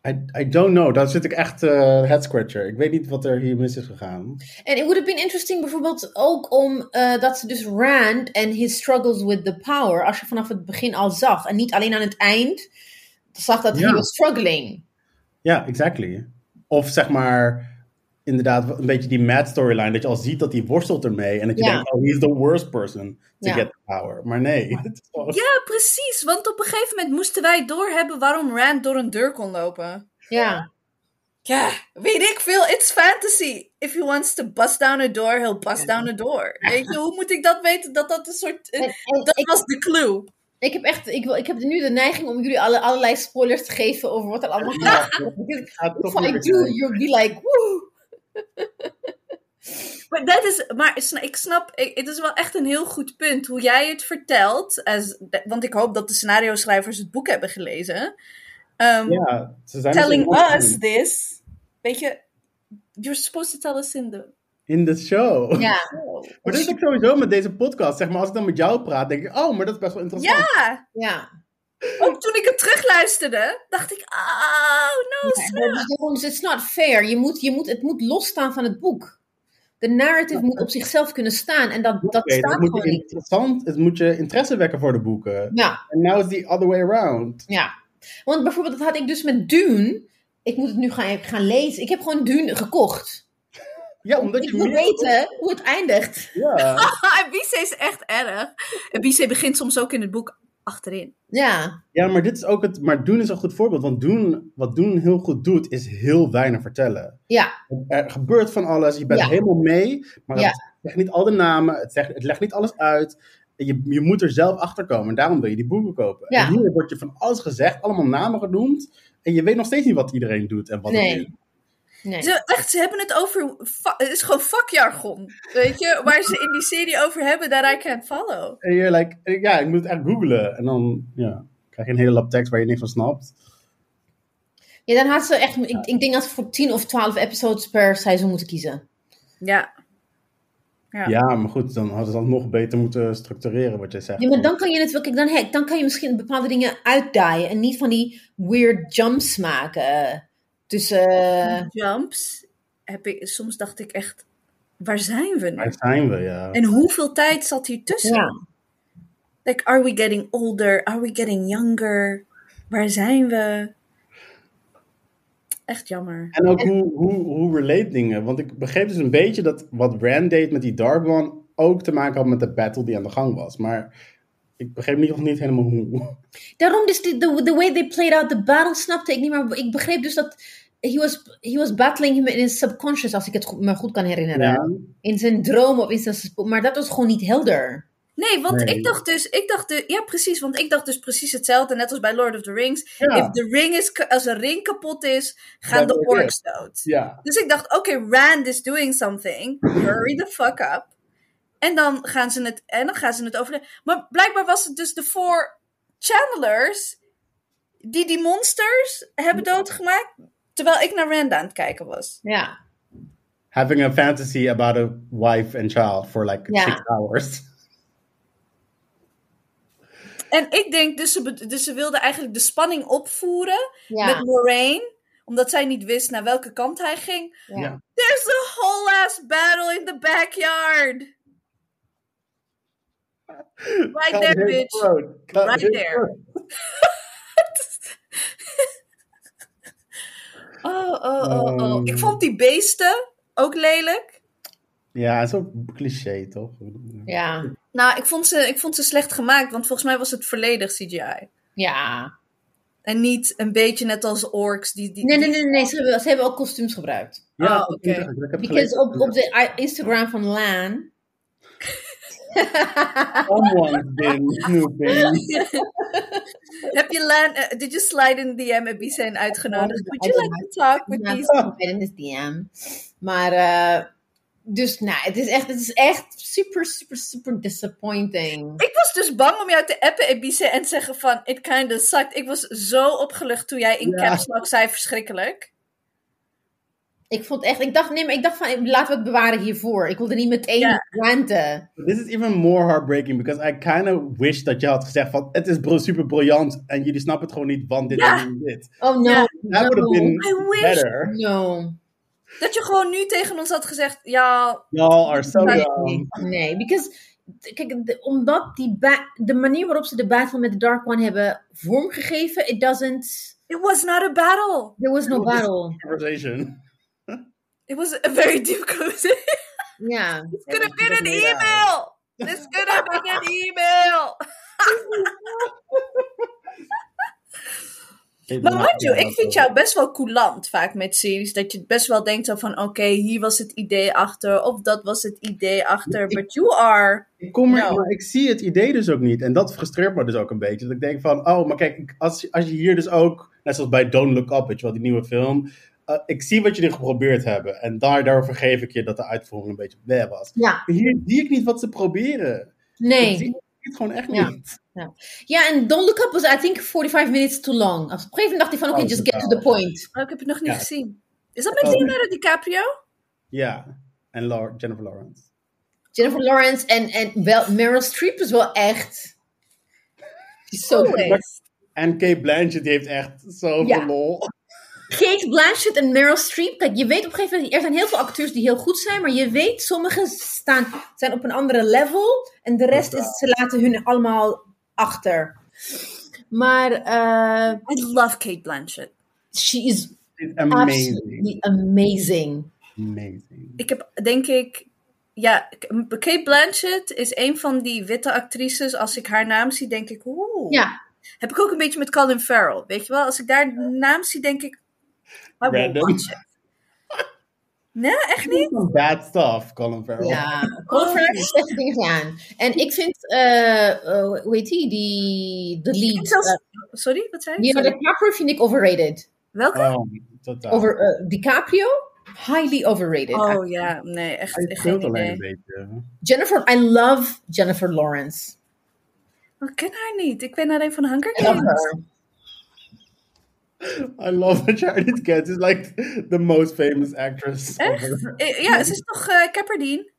S3: I, I don't know. Daar zit ik echt eh head scratcher. Ik weet niet wat er hier mis is gegaan.
S1: En it would have been interesting bijvoorbeeld ook om eh, dat ze dus Rand en his struggles with the power, als je vanaf het begin al zag en niet alleen aan het eind, zag dat
S3: Ja.
S1: hij was struggling.
S3: Ja, exactly. Of zeg maar, inderdaad, een beetje die mad storyline. Dat je al ziet dat hij worstelt ermee. En dat je
S1: Ja.
S3: denkt, oh, he's the worst person to
S1: Ja.
S3: get the power. Maar nee. het is gewoon-
S2: Ja, precies. Want op een gegeven moment moesten wij doorhebben waarom Rand door een deur kon lopen.
S1: Ja,
S2: Ja, weet ik veel. It's fantasy. If he wants to bust down a door, he'll bust down a door. Weet je, hoe moet ik dat weten? Dat dat een soort...
S1: En- en
S2: dat
S1: ik-
S2: was de clue.
S1: ik heb echt, ik, wil, ik heb nu de neiging om jullie alle, allerlei spoilers te geven over wat er allemaal
S3: Ja,
S1: gaat. Because
S3: gaat toch
S1: If I
S3: niet
S1: do,
S3: werken.
S1: you'll be like, woe.
S2: Maar dat is, maar ik sna- ik snap, ik- het is wel echt een heel goed punt hoe jij het vertelt. As, want ik hoop dat de scenario schrijvers het boek hebben gelezen. Ehm,
S3: Ja, ze zijn dus
S2: telling
S3: enorm
S2: us this. Weet je, you're supposed to tell us in the
S3: In de show.
S1: Ja,
S2: show.
S3: Maar dat is ook sowieso met deze podcast. Zeg maar, als ik dan met jou praat, denk ik, oh, maar dat is best wel interessant.
S2: Ja,
S1: ja.
S2: ook toen ik het terugluisterde, dacht ik, oh no, snap.
S1: Dus daarom is it's not fair. Je moet, je moet, het moet losstaan van het boek. De narrative moet op zichzelf kunnen staan. En dat, dat
S3: Oké,
S1: staat
S3: dat moet
S1: gewoon
S3: je
S1: niet.
S3: interessant, het moet je interesse wekken voor de boeken.
S1: Ja,
S3: En now it's the other way around.
S1: ja. Want bijvoorbeeld, dat had ik dus met Dune. Ik moet het nu gaan, gaan lezen. Ik heb gewoon Dune gekocht.
S3: Ja, omdat
S1: Ik
S3: je
S1: wil
S3: meer-
S1: weten hoe het eindigt.
S3: Ja.
S2: Bise is echt erg. Bise begint soms ook in het boek achterin.
S1: Ja,
S3: ja, maar dit is ook het. Maar doen is een goed voorbeeld. Want doen, wat doen heel goed doet, is heel weinig vertellen.
S1: ja,
S3: Er gebeurt van alles. Je bent
S1: Ja.
S3: helemaal mee. Maar
S1: Ja.
S3: het zegt niet al de namen. Het, zegt, het legt niet alles uit. Je, je moet er zelf achter komen. En daarom wil je die boeken kopen.
S1: Ja.
S3: En hier wordt je van alles gezegd, allemaal namen genoemd. En je weet nog steeds niet wat iedereen doet en wat het
S1: nee.
S3: is.
S1: Nee.
S2: Ze, echt, ze hebben het over. va- Het is gewoon vakjargon. Weet je, waar ze in die serie over hebben, daar I can't follow.
S3: En je like, eh, ja, ik moet het echt googlen. En dan ja, krijg je een hele lap tekst waar je niks van snapt.
S1: Ja, dan had ze echt. Ik, ik denk dat ze voor 10 of 12 episodes per seizoen moeten kiezen.
S2: Ja. Ja.
S3: Ja, maar goed, dan hadden ze dat nog beter moeten structureren, wat jij zegt.
S1: Ja, maar dan kan je het wel. Kijk, dan, hè, dan kan je misschien bepaalde dingen uitdaaien. En niet van die weird jumps maken. eh, Tussen. eh,
S2: Jumps. Heb ik, soms dacht ik echt. Waar zijn we
S3: Daar
S2: nu?
S3: zijn we, ja.
S2: En hoeveel tijd zat hier tussen?
S1: ja.
S2: Like, are we getting older? Are we getting younger? Waar zijn we? Echt jammer.
S3: En ook hoe, hoe, hoe relate dingen. Want ik begreep dus een beetje dat wat Rand deed met die Dark One ook te maken had met de battle die aan de gang was. Maar ik begreep niet, nog niet helemaal hoe.
S1: Daarom, dus de the, the way they played out the battle snapte ik niet. Maar ik begreep dus dat. He was, he was battling him in his subconscious, als ik het goed, me goed kan herinneren. In zijn droom of in zijn. spo- Maar dat was gewoon niet helder.
S2: Nee, want
S3: Nee.
S2: ik dacht dus, ik dacht dus, ja precies, want ik dacht dus precies hetzelfde, net als bij Lord of the Rings.
S3: Ja.
S2: If the ring is, ka- als een ring kapot is, gaan
S3: Dat
S2: de
S3: is
S2: orks dood.
S3: ja.
S2: Dus ik dacht, oké, Rand is doing something, hurry the fuck up. En dan gaan ze het, en dan gaan ze het over. Maar blijkbaar was het dus de four channelers die die monsters hebben doodgemaakt, terwijl ik naar Rand aan het kijken was.
S1: Ja.
S3: Having a fantasy about a wife and child for like
S1: Ja.
S3: six hours.
S2: En ik denk, dus ze, be- dus ze wilden eigenlijk de spanning opvoeren
S1: Ja.
S2: met Lorraine. Omdat zij niet wist naar welke kant hij ging.
S1: Ja.
S3: Ja.
S2: There's a whole ass battle in the backyard. Right
S3: Cut
S2: there,
S3: his
S2: bitch.
S3: throat. Cut
S2: Right
S3: his
S2: there.
S3: throat.
S2: Oh, oh, oh, oh.
S3: Ehm.
S2: Ik vond die beesten ook lelijk.
S3: Ja, het is ook cliché, toch?
S1: Ja.
S2: Nou, ik vond, ze, ik vond ze slecht gemaakt, want volgens mij was het volledig CGI.
S1: ja.
S2: En niet een beetje net als orks. Die, die,
S1: Nee, nee,
S2: die-
S1: nee, nee. Ze hebben, ze hebben ook kostuums gebruikt.
S3: Ja,
S2: Oh, oké.
S3: ik heb het
S1: Because
S3: gelezen.
S1: op, op de i- Instagram van Laan.
S3: Someone's been snooping.
S2: Heb je Lan, eh, did you slide in DM en Bisa en uitgenodigd? Would you like to talk with
S1: Ja,
S2: these?
S1: ik Oh, ben in de DM. Maar, eh, dus, nou, het is, echt, het is echt super, super, super disappointing.
S2: Ik was dus bang om jou te appen en Bisa en zeggen van, it kinda sucked. Ik was zo opgelucht toen jij in
S3: Ja.
S2: caps lock zei, verschrikkelijk.
S1: Ik vond echt, ik dacht, nee, maar ik dacht van, laten we het bewaren hiervoor. Ik wilde niet meteen
S2: Ja.
S1: ranten.
S3: This is even more heartbreaking because I kind of wish dat je had gezegd van het is bro- super briljant en jullie snappen het gewoon niet, want dit
S2: Ja.
S3: en dit.
S1: Oh no,
S2: Ja.
S3: That would have been
S2: I wish.
S3: better.
S1: no.
S2: Dat je gewoon nu tegen ons had gezegd, ja,
S3: Y'all are so
S2: Nee.
S3: dumb.
S1: Nee, because, kijk, de- omdat die ba- de manier waarop ze de battle met de Dark One hebben vormgegeven, it doesn't,
S2: it was not a battle.
S1: there was no
S3: It was-
S1: battle.
S3: Conversation.
S2: It was a very deep conversation.
S1: Ja.
S2: It's gonna be an email. It's gonna be an email. Maar Nou, mind you, ik vind jou best wel coulant vaak met series. Dat je best wel denkt zo van, oké, hier was het idee achter. Of dat was het idee achter. But you are...
S3: Ik kom er,
S2: Nou.
S3: maar ik zie het idee dus ook niet. En dat frustreert me dus ook een beetje. Dat ik denk van, oh, maar kijk, ik- als, je- als je hier dus ook, net zoals bij Don't Look Up, weet je wel, die nieuwe film. eh, ik zie wat jullie geprobeerd hebben. En daar, daarvoor geef ik je dat de uitvoering een beetje bleh was.
S1: Ja,
S3: Hier zie ik niet wat ze proberen. Ik
S1: nee.
S3: zie het gewoon echt
S1: Ja.
S3: niet.
S1: Ja, en Don't Look Up was, I think, 45 minutes too long. Op een gegeven moment dacht ik van, oké,
S3: Oh,
S1: just get to the point.
S2: Oh, ik heb het nog niet
S3: Ja.
S2: gezien. Is dat met
S3: Oh.
S2: Leonardo DiCaprio?
S3: Ja, en Lau- Jennifer Lawrence.
S1: Jennifer Lawrence en, en wel, Meryl Streep is wel echt... She's so good.
S2: Always.
S3: En Kate Blanchett die heeft echt zoveel
S1: Ja.
S3: lol.
S1: Kate Blanchett en Meryl Streep. Kijk, je weet op een gegeven moment, er zijn heel veel acteurs die heel goed zijn, maar je weet, sommigen staan, zijn op een andere level en de rest is, ze laten hun allemaal achter. Maar eh,
S2: I love Kate Blanchett.
S1: she is
S3: It's
S1: absolutely
S3: amazing.
S1: amazing.
S3: amazing.
S2: Ik heb, denk ik... Ja, Kate Blanchett is een van die witte actrices. Als ik haar naam zie, denk ik... Oeh.
S1: Ja,
S2: Heb ik ook een beetje met Colin Farrell. Weet je wel, als ik daar de naam zie, denk ik. I will
S3: Random.
S2: watch it. Nee, echt niet?
S3: Some bad stuff, Colin Farrell.
S1: ja. Colin Farrell heeft slechte dingen gedaan. En ik vind, eh, eh, hoe heet die, die, de
S2: Ik
S1: lead,
S2: zelfs-
S1: eh,
S2: sorry, wat zei je?
S1: Leonardo
S2: Sorry.
S1: DiCaprio vind ik overrated.
S2: Welke?
S3: Oh, totaal.
S1: Over, eh, DiCaprio, highly overrated.
S2: Oh ja, nee, echt,
S3: Hij
S2: echt geen
S3: speelt alleen een
S2: idee.
S3: beetje.
S1: Jennifer, I love Jennifer Lawrence.
S2: Ik ken haar niet. Ik ken alleen van Hunger
S1: I love
S2: Games.
S1: her.
S3: I love that Charlotte Gets is like the most famous actress.
S2: Echt?
S3: ever.
S2: Eh, Ja, ze is toch eh Kepperdien?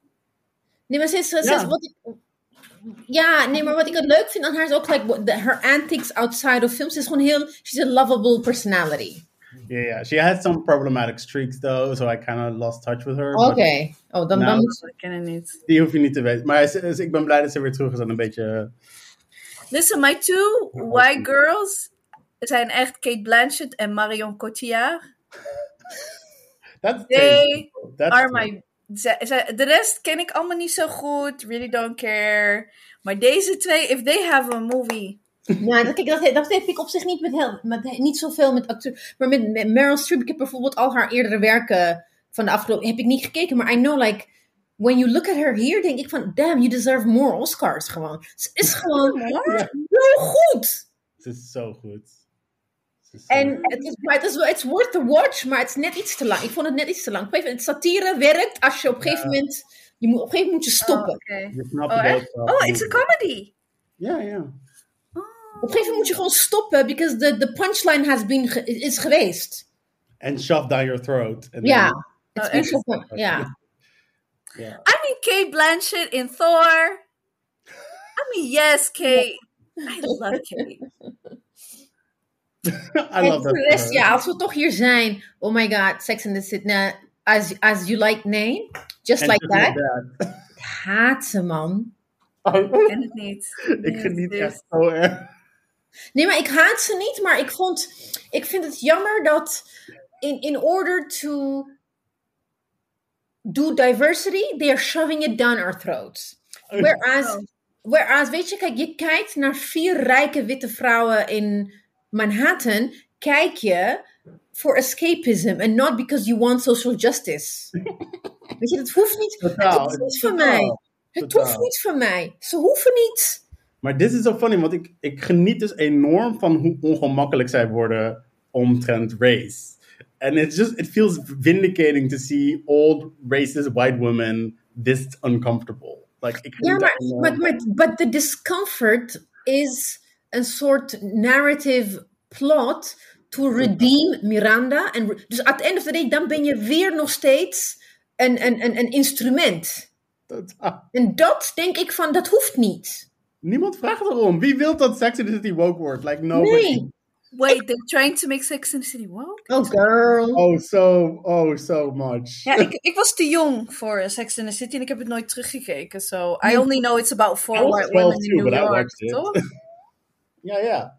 S1: Nee, maar ze is, ze is-
S3: Ja.
S1: wat ik, ja, nee, maar wat ik het leuk vind aan haar is ook like, what- the- her antics outside of films. Ze is gewoon heel, she's a lovable personality.
S3: Yeah, yeah. She had some problematic streaks though, so I kind of lost touch with her.
S1: Oké,
S3: but
S1: oh, dan, dan
S3: Nou.
S1: moet
S2: Ik ken haar niet.
S3: Die hoef je niet te weten. Maar ze- ze- ik ben blij dat ze weer terug is en een beetje... eh,
S2: Listen, my two white girls zijn echt Kate Blanchett en Marion Cotillard.
S3: That's
S2: They
S3: That's
S2: are my. ze- ze- De rest ken ik allemaal niet zo goed. Really don't care. Maar deze twee, if they have a movie.
S1: Nou, dat, kijk, dat, dat heb ik op zich niet, met heel, met, niet zoveel met acteur. Maar met, met Meryl Streep, ik heb bijvoorbeeld al haar eerdere werken van de afgelopen... Heb ik niet gekeken, maar I know, like... When you look at her here, denk ik van... Damn, you deserve more Oscars, gewoon. Ze is gewoon
S2: What?
S1: zo goed!
S3: Ze is zo goed. Ze is zo
S1: En het is, maar het is wel, it's worth the watch, maar het is net iets te lang. Ik vond het net iets te lang. Op een gegeven moment, satire werkt als je op een gegeven moment... Je moet, op een gegeven moment moet je
S2: Oh,
S1: stoppen.
S2: oké.
S3: Je snapt
S2: Oh,
S3: het
S2: echt?
S3: ook wel.
S2: Oh, it's a comedy.
S3: Ja, ja.
S1: Op een gegeven moment moet je gewoon stoppen, because the, the punchline has been ge- is geweest.
S3: En shove down your throat. En
S1: Ja.
S3: dan-
S1: It's
S2: Oh,
S1: been
S2: echt?
S1: gestopt, ja.
S3: ja.
S2: Oh. I mean, Kate Blanchett in Thor. I mean, yes, Kate. I love Kate.
S3: I love that.
S1: En voor de rest,
S3: for her.
S1: ja, als we toch hier zijn. Oh my god, Sex in the City. nou, as, as you like, nee. Just
S3: En
S1: like
S3: just
S1: that. Oh,
S3: like that.
S1: Ik haat ze, man.
S2: Ik ken het niet.
S3: Oh, ik geniet
S2: dus-
S3: echt zo erg.
S1: Nee, maar ik haat ze niet, maar ik, vond, ik vind het jammer dat in, in order to do diversity, they are shoving it down our throats. Whereas,
S2: Oh.
S1: whereas weet je, kijk, je kijkt naar vier rijke witte vrouwen in Manhattan, kijk je voor escapism and not because you want social justice. weet je, dat hoeft niet.
S3: Totaal,
S1: het hoeft niet van
S3: totaal.
S1: mij. Het hoeft
S3: totaal.
S1: niet van mij. Ze hoeven niet.
S3: Maar dit is zo funny, want ik, ik geniet dus enorm van hoe ongemakkelijk zij worden omtrent race. And it's just, it feels vindicating to see old racist white women this uncomfortable. Like, ik
S1: Ja,
S3: geniet daar
S1: maar,
S3: enorm
S1: maar,
S3: van.
S1: maar, but the discomfort is een soort narrative plot to redeem Miranda. En re- dus at the end of the day, dan ben je weer nog steeds een, een, een, een instrument.
S3: Totaal.
S1: En dat denk ik van, dat hoeft niet.
S3: Niemand vraagt erom. Wie wil dat Sex in the City woke wordt? Like, nobody.
S1: Nee.
S2: Wait, they're trying to make Sex in the City woke?
S1: Oh, girl.
S3: Oh, so, oh, so much.
S2: Ja, ik, ik was te jong voor Sex in the City en ik heb het nooit teruggekeken. So I only know it's about four
S3: Hmm. I was
S2: white
S3: 12
S2: women in
S3: too,
S2: New
S3: but I
S2: York,
S3: watched it.
S2: toch?
S3: Ja, ja.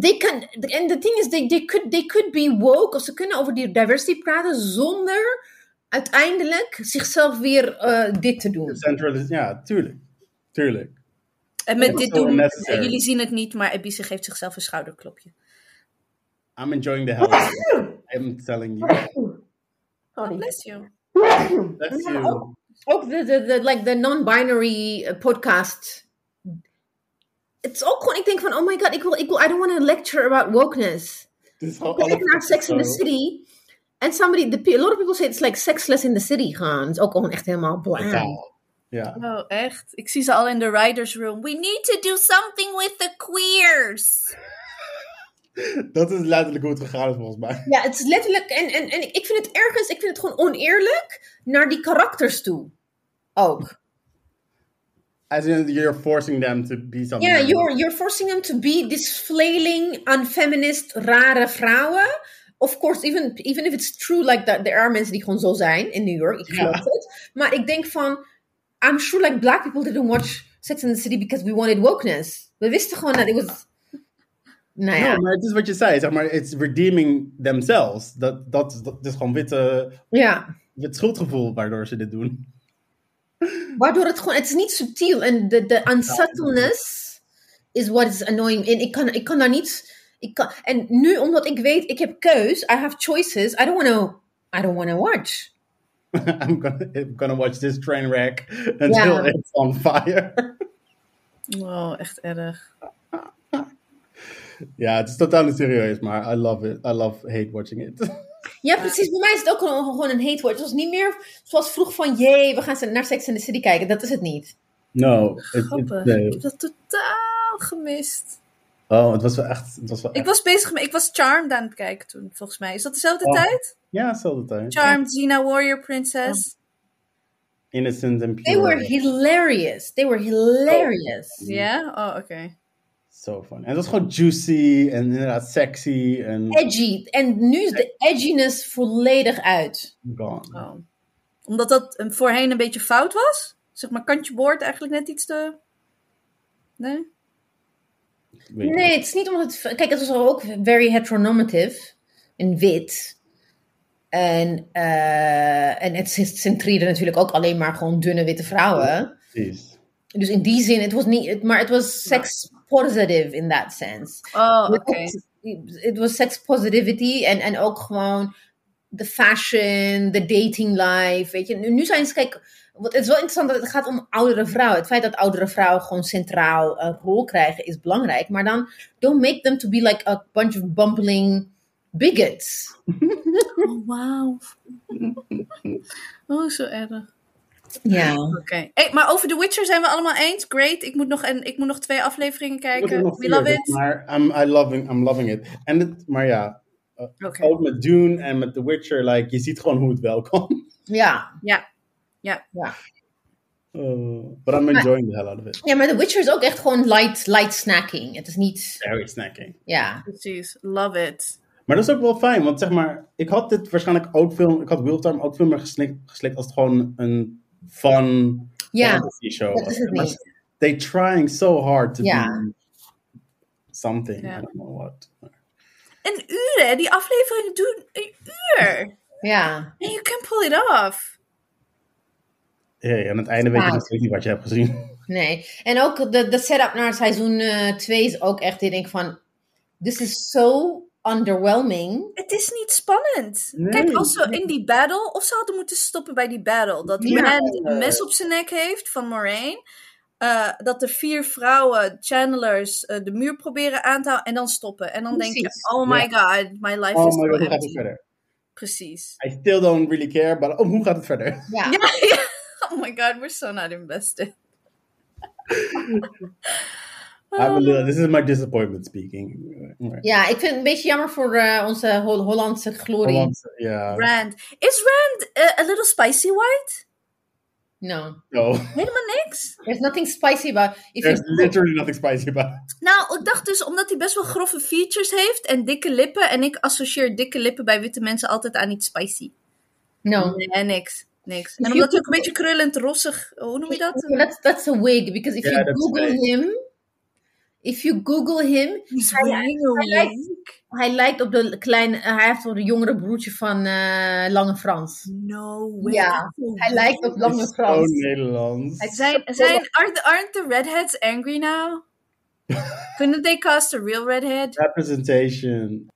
S1: They can, and the thing is, they, they, could, they could be woke. Of ze kunnen over die diversity praten zonder uiteindelijk zichzelf weer eh, dit te doen.
S3: Central is, ja, tuurlijk. Tuurlijk.
S2: En met
S3: was
S2: dit
S3: wel
S2: doen,
S3: unnecessary.
S2: jullie zien het niet, maar Ebice geeft zichzelf een schouderklopje.
S3: I'm enjoying the hell out of it. I'm telling you.
S1: Sorry.
S2: Bless you.
S3: That's
S1: Ja,
S3: you.
S1: ook- ook de, de, de, like de non-binary eh, podcast. Het is ook gewoon, ik denk van, oh my god, ik wil, ik wil, I don't want to lecture about wokeness.
S3: Dit is gewoon
S1: Kijk
S3: alles
S1: naar Sex in the
S3: zo-
S1: City. And somebody, the, pe- a lot of people say it's like sexless in the city gaan. Het is ook gewoon echt helemaal blam.
S3: Totaal. Ja.
S2: Oh, echt? Ik zie ze al in de writers' room. We need to do something with the queers.
S3: Dat is letterlijk hoe het gegaan is volgens mij.
S1: Ja, het is letterlijk, en, en, en ik vind het ergens, ik vind het gewoon oneerlijk naar die karakters toe. Ook.
S3: As in, you're forcing them to be something.
S1: Ja, you're, you're forcing them to be this flailing, unfeminist, rare vrouwen. Of course, even, even if it's true, like that, there are mensen die gewoon zo zijn in New York. Ik geloof het. Maar ik denk van, I'm sure like black people didn't watch Sex in the City because we wanted wokeness. We wisten gewoon dat it was... Nou ja,
S3: Ja, maar het is wat je zei, zeg maar, it's redeeming themselves. Dat, dat, dat is gewoon witte,
S1: ja.
S3: wit schuldgevoel waardoor ze dit doen.
S1: Waardoor het gewoon, het is niet subtiel. En de, de unsubtleness is what is annoying. En ik kan, ik kan daar niet, ik kan, en nu omdat ik weet, ik heb keus, I have choices, I don't want to, I don't want to watch.
S3: I'm gonna, I'm gonna watch this train wreck until
S1: Ja.
S3: it's on fire.
S2: Oh, echt erg.
S3: ja, het is totaal niet serieus, maar I love it. I love hate watching it.
S1: Ja, precies. Bij mij is het ook gewoon, gewoon een hate word. Het was niet meer zoals vroeg van, jee, we gaan ze- naar Sex in the City kijken. Dat is het niet.
S3: no. it- it-
S2: Grappig.
S3: nee.
S2: Ik heb dat totaal gemist.
S3: Oh, het was wel echt... Het was wel
S2: Ik
S3: echt
S2: was bezig met... Ik was Charmed aan het kijken toen, volgens mij. Is dat dezelfde
S3: Oh.
S2: tijd?
S3: ja, hetzelfde tijd.
S2: Charmed, Xena, Warrior Princess.
S3: Innocent and
S1: They
S3: pure.
S1: were hilarious. They were hilarious.
S2: Ja? Oh, oké.
S3: Zo fun. En het was gewoon juicy en inderdaad sexy en
S1: Edgy. En nu is de edginess volledig uit.
S3: gone.
S2: Oh. Omdat dat een- voorheen een beetje fout was? Zeg maar, kantje boord eigenlijk net iets te... Nee?
S3: Weet je.
S1: Nee, het is niet omdat het... Kijk, het was ook very heteronormative. En wit. En, eh, en het centreerde natuurlijk ook alleen maar gewoon dunne witte vrouwen.
S3: Precies.
S1: Dus in die zin, het was niet... het- maar het was sex positive in that sense.
S2: Oh, oké.
S1: Het was sex positivity en, en ook gewoon de fashion, de dating life. Weet je, nu, nu zijn ze, kijk, wat, het is wel interessant dat het gaat om oudere vrouwen. Het feit dat oudere vrouwen gewoon centraal een rol krijgen is belangrijk. Maar dan, don't make them to be like a bunch of bumbling bigots.
S2: Oh, wauw. Oh, zo erg.
S1: Ja.
S2: Oké. Hey, maar over The Witcher zijn we allemaal eens. Great. Ik moet nog, en, ik moet nog twee afleveringen
S3: Ik heb
S2: kijken.
S3: nog
S2: We
S3: vier,
S2: love
S3: dus,
S2: it.
S3: Maar I'm, I loving, I'm loving it. En het, maar ja,
S2: Oké.
S3: ook met Dune en met The Witcher, like, je ziet gewoon hoe het wel kan.
S1: Ja.
S2: Ja. Ja.
S1: Ja.
S3: Oh, but I'm enjoying the hell out of it.
S1: Ja, maar The Witcher is ook echt gewoon light, light snacking. Het is niet,
S3: Very snacking.
S1: ja.
S2: Precies, love it.
S3: Maar dat is ook wel fijn, want zeg maar, ik had dit waarschijnlijk ook veel, ik had Wheeltime ook veel meer geslikt, geslikt als het gewoon een fun
S1: Ja,
S3: fantasy show
S1: dat
S3: was.
S1: is het
S3: Maar
S1: niet.
S3: They trying so hard to
S1: Ja.
S3: be something,
S2: Ja.
S3: I don't know what.
S2: Een uur, hè? Die afleveringen doen een uur.
S1: Ja.
S2: And you can pull it off.
S3: Hey, aan het einde weet je
S1: Wow.
S3: nog steeds niet wat je hebt gezien.
S1: Nee. En ook de, de setup naar seizoen 2 is ook echt, ik denk van, this is so underwhelming.
S2: Het is niet spannend.
S3: Nee.
S2: Kijk, als ze in die battle... Of ze hadden moeten stoppen bij die battle. Dat die
S1: Ja.
S2: man die een mes op zijn nek heeft van Moraine. eh, dat de vier vrouwen, channelers, eh, de muur proberen aan te houden. En dan stoppen. En dan denk
S1: Precies.
S2: je, oh my god, my life is
S3: Oh my
S2: so
S3: god, hoe gaat het
S2: empty.
S3: verder?
S2: Precies.
S3: I still don't really care, but oh, hoe gaat het verder?
S1: Ja.
S2: Ja, ja. Oh my god, we're so not invested. Ah. Oh.
S3: I'm a little, this is my disappointment speaking. Maar-
S1: Ja, ik vind het een beetje jammer voor eh, onze Hol- Hollandse glorie.
S3: Hollandse- Ja,
S2: Rand. Is Rand eh, a little spicy white?
S1: No.
S3: no.
S2: Helemaal niks?
S1: There's nothing spicy about if
S3: There's
S1: you
S3: literally nothing spicy about it.
S2: Nou, ik dacht dus omdat hij best wel grove features heeft en dikke lippen. En ik associeer dikke lippen bij witte mensen altijd aan iets spicy.
S1: No.
S2: Nee, niks. Niks.
S1: If
S2: En
S1: you
S2: omdat hij ook
S1: could-
S2: een beetje krullend, rossig, hoe noem je dat?
S1: That's, that's a wig, because if
S3: Ja,
S1: you
S3: dat is
S1: Google
S3: een
S1: him, if you Google him,
S2: He's
S1: lijkt- hij lijkt op de kleine, eh, hij heeft wel de jongere broertje van eh, Lange Frans.
S2: No way.
S1: Ja,
S2: That's so
S1: Hij lijkt op Lange
S3: It's
S1: Frans.
S3: zo Nederlands.
S1: Hij zei-
S2: Zijn, zijn, aren't, the, aren't the redheads angry now? Couldn't they cast a real redhead?
S3: Representation.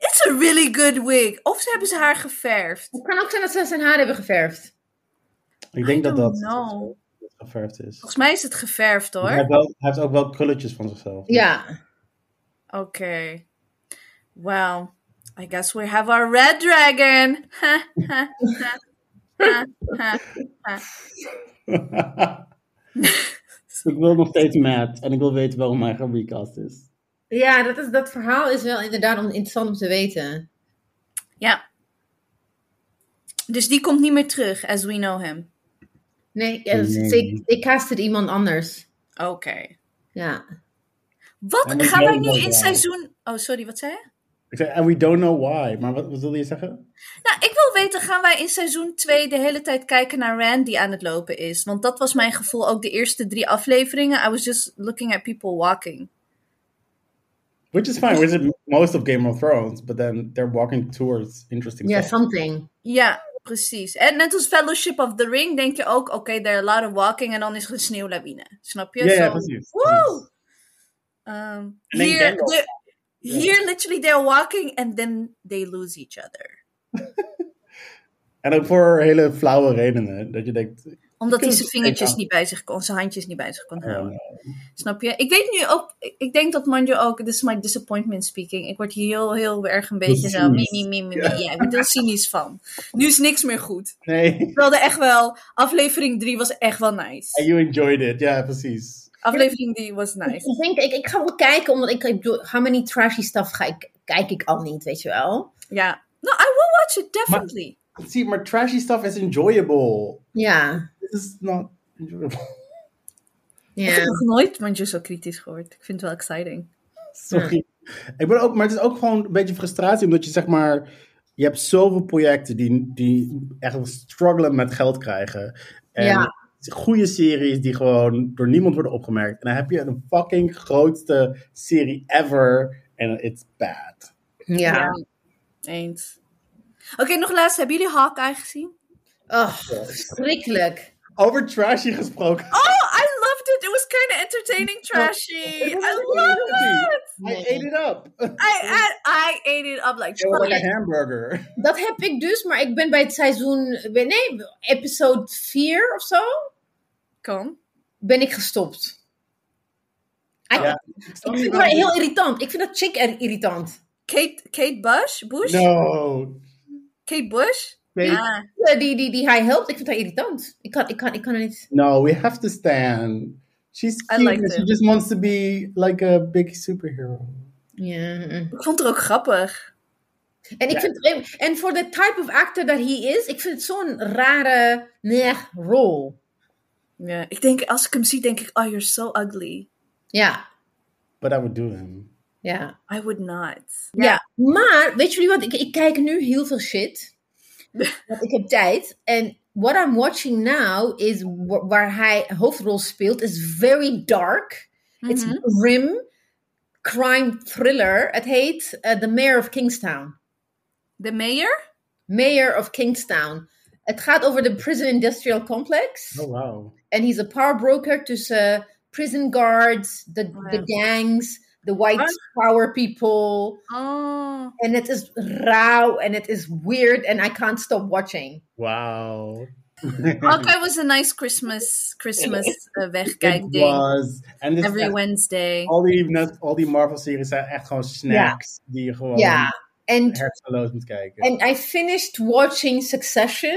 S2: It's a really good wig. Of ze hebben ze haar geverfd.
S1: Het kan ook zijn dat ze zijn haar hebben geverfd.
S3: Ik denk dat dat
S2: No.
S3: geverfd is.
S2: Volgens mij is het geverfd
S3: Hij heeft,
S2: hoor.
S3: wel, hij heeft ook wel krulletjes van zichzelf.
S1: Ja.
S2: Oké. Well, I guess we have our red dragon. Ha, ha, ha, ha, ha.
S3: ik wil nog steeds Matt en ik wil weten waarom hij gerecast is.
S1: Ja, dat, is, dat verhaal is wel inderdaad om- interessant om te weten.
S2: Ja. Dus die komt niet meer terug, as we know him.
S1: Nee, ja, dat-
S3: Nee.
S1: ik, ik cast het iemand anders.
S2: Oké.
S1: Ja.
S2: Wat
S3: Ja, maar
S2: gaan
S3: ik
S2: wij
S3: weet
S2: nu
S3: het
S2: in
S3: wel.
S2: seizoen... Oh, sorry, wat zei je?
S3: Ik zei, and we don't know why. Maar wat, wat wilde je zeggen?
S2: Nou, ik wil weten, gaan wij in seizoen 2 de hele tijd kijken naar Rand die aan het lopen is? Want dat was mijn gevoel, ook de eerste drie afleveringen. I was just looking at people walking.
S3: Which is fine, which is most of Game of Thrones. But then they're walking towards interesting
S1: Ja,
S3: stuff.
S1: something.
S2: Ja, precies. En net als Fellowship of the Ring denk je ook, oké, there are a lot of walking en dan is er een sneeuwlawine. Snap je?
S3: Ja, ja,
S2: Zo,
S3: precies.
S2: Woe! Ehm,
S3: En ik
S2: hier,
S3: denk ook-
S2: de- hier literally they're walking and then they lose each other.
S3: En ook voor hele flauwe redenen. Dat je denkt,
S2: Omdat hij
S3: kunt
S2: zijn
S3: het
S2: vingertjes
S3: aan.
S2: niet bij zich kon, zijn handjes niet bij zich kon houden.
S3: ehm,
S2: Snap je? Ik weet nu ook, ik denk dat Manjo ook, this is my disappointment speaking. Ik word hier heel, heel erg een beetje zo, mie,
S3: Cynisch.
S2: mie, mie, mie,
S3: Ja.
S2: mie. Ja, ik word heel cynisch van. Nu is niks meer goed.
S3: nee,
S2: We hadden echt wel, aflevering 3 was echt wel nice.
S3: you enjoyed it. Ja, precies.
S2: Aflevering 3 was nice.
S1: Ik denk, ik, ik ga wel kijken, omdat ik, ik bedoel, how many trashy stuff ga ik, kijk ik al niet, weet je wel?
S2: Ja. No, I will watch it, definitely.
S3: Zie, maar trashy stuff is enjoyable.
S1: Ja.
S3: This is not enjoyable.
S2: Ik
S1: Ja.
S2: heb nog nooit Manjo zo kritisch gehoord. Ik vind het wel exciting.
S3: Sorry. Ik ben ook, maar het is ook gewoon een beetje frustratie, omdat je zeg maar, je hebt zoveel projecten die, die echt struggelen met geld krijgen. En
S1: Ja.
S3: goede series die gewoon door niemand worden opgemerkt. En dan heb je een fucking grootste serie ever en it's bad.
S1: Ja.
S2: Eens. Oké, nog laatst. Hebben jullie Hawkeye gezien?
S1: Oh, verschrikkelijk.
S3: Over trashy gesproken.
S2: Oh, I loved it. It was kind of entertaining, trashy. I love it.
S3: I ate it up.
S2: I, I, I ate it up like
S3: It was like
S2: chocolate.
S3: a hamburger.
S1: Dat heb ik dus, maar ik ben bij het seizoen, nee, episode 4 of zo,
S2: Kan.
S1: ben ik gestopt. I-
S3: Ja.
S1: Ik vind het wel heel irritant. Ik vind dat chick er irritant.
S2: Kate, Kate Bush? Bush?
S3: No.
S2: Kate Bush?
S3: Kate-
S2: Ah,
S1: Eh, Die, die, die hij helpt, ik vind haar irritant. Ik kan, ik kan, ik kan er niet.
S3: No, we have to stand. She's
S2: I
S3: cute.
S2: liked
S3: and she
S2: it.
S3: just wants to be like a big superhero.
S1: Ja. mm.
S2: ik vond het ook grappig.
S1: En ik
S3: Ja.
S1: vind, en- en voor de type of actor dat hij is, ik vind het zo'n rare nee, rol.
S2: Ja, ik denk, als ik hem zie, denk ik, oh, you're so ugly.
S1: Ja,
S3: But I would do him.
S1: ja.
S2: I would not.
S1: Ja, maar weet jullie wat? Ik, ik kijk nu heel veel shit. Want ik heb tijd. En what I'm watching now is wa- waar hij een hoofdrol speelt, is very dark. It's grim crime thriller. Het heet eh, The Mayor of Kingstown.
S2: De mayor?
S1: Mayor of Kingstown. Het gaat over de prison industrial complex.
S3: Oh, wow.
S1: En he's a power broker tussen prison guards, the,
S2: Oh,
S1: the
S2: ja.
S1: gangs, the white
S2: Ah.
S1: power people.
S2: Oh.
S1: En het is rauw en het is weird en I can't stop watching.
S3: Wow.
S2: Okay, was a nice Christmas, Christmas eh,
S3: it
S2: wegkijkding.
S3: was. En dit is
S2: Every
S3: echt-
S2: Wednesday.
S3: al die, net, al die Marvel-series zijn echt gewoon snacks die je gewoon
S1: Ja. En
S3: hersenloos moet kijken.
S1: and I finished watching Succession.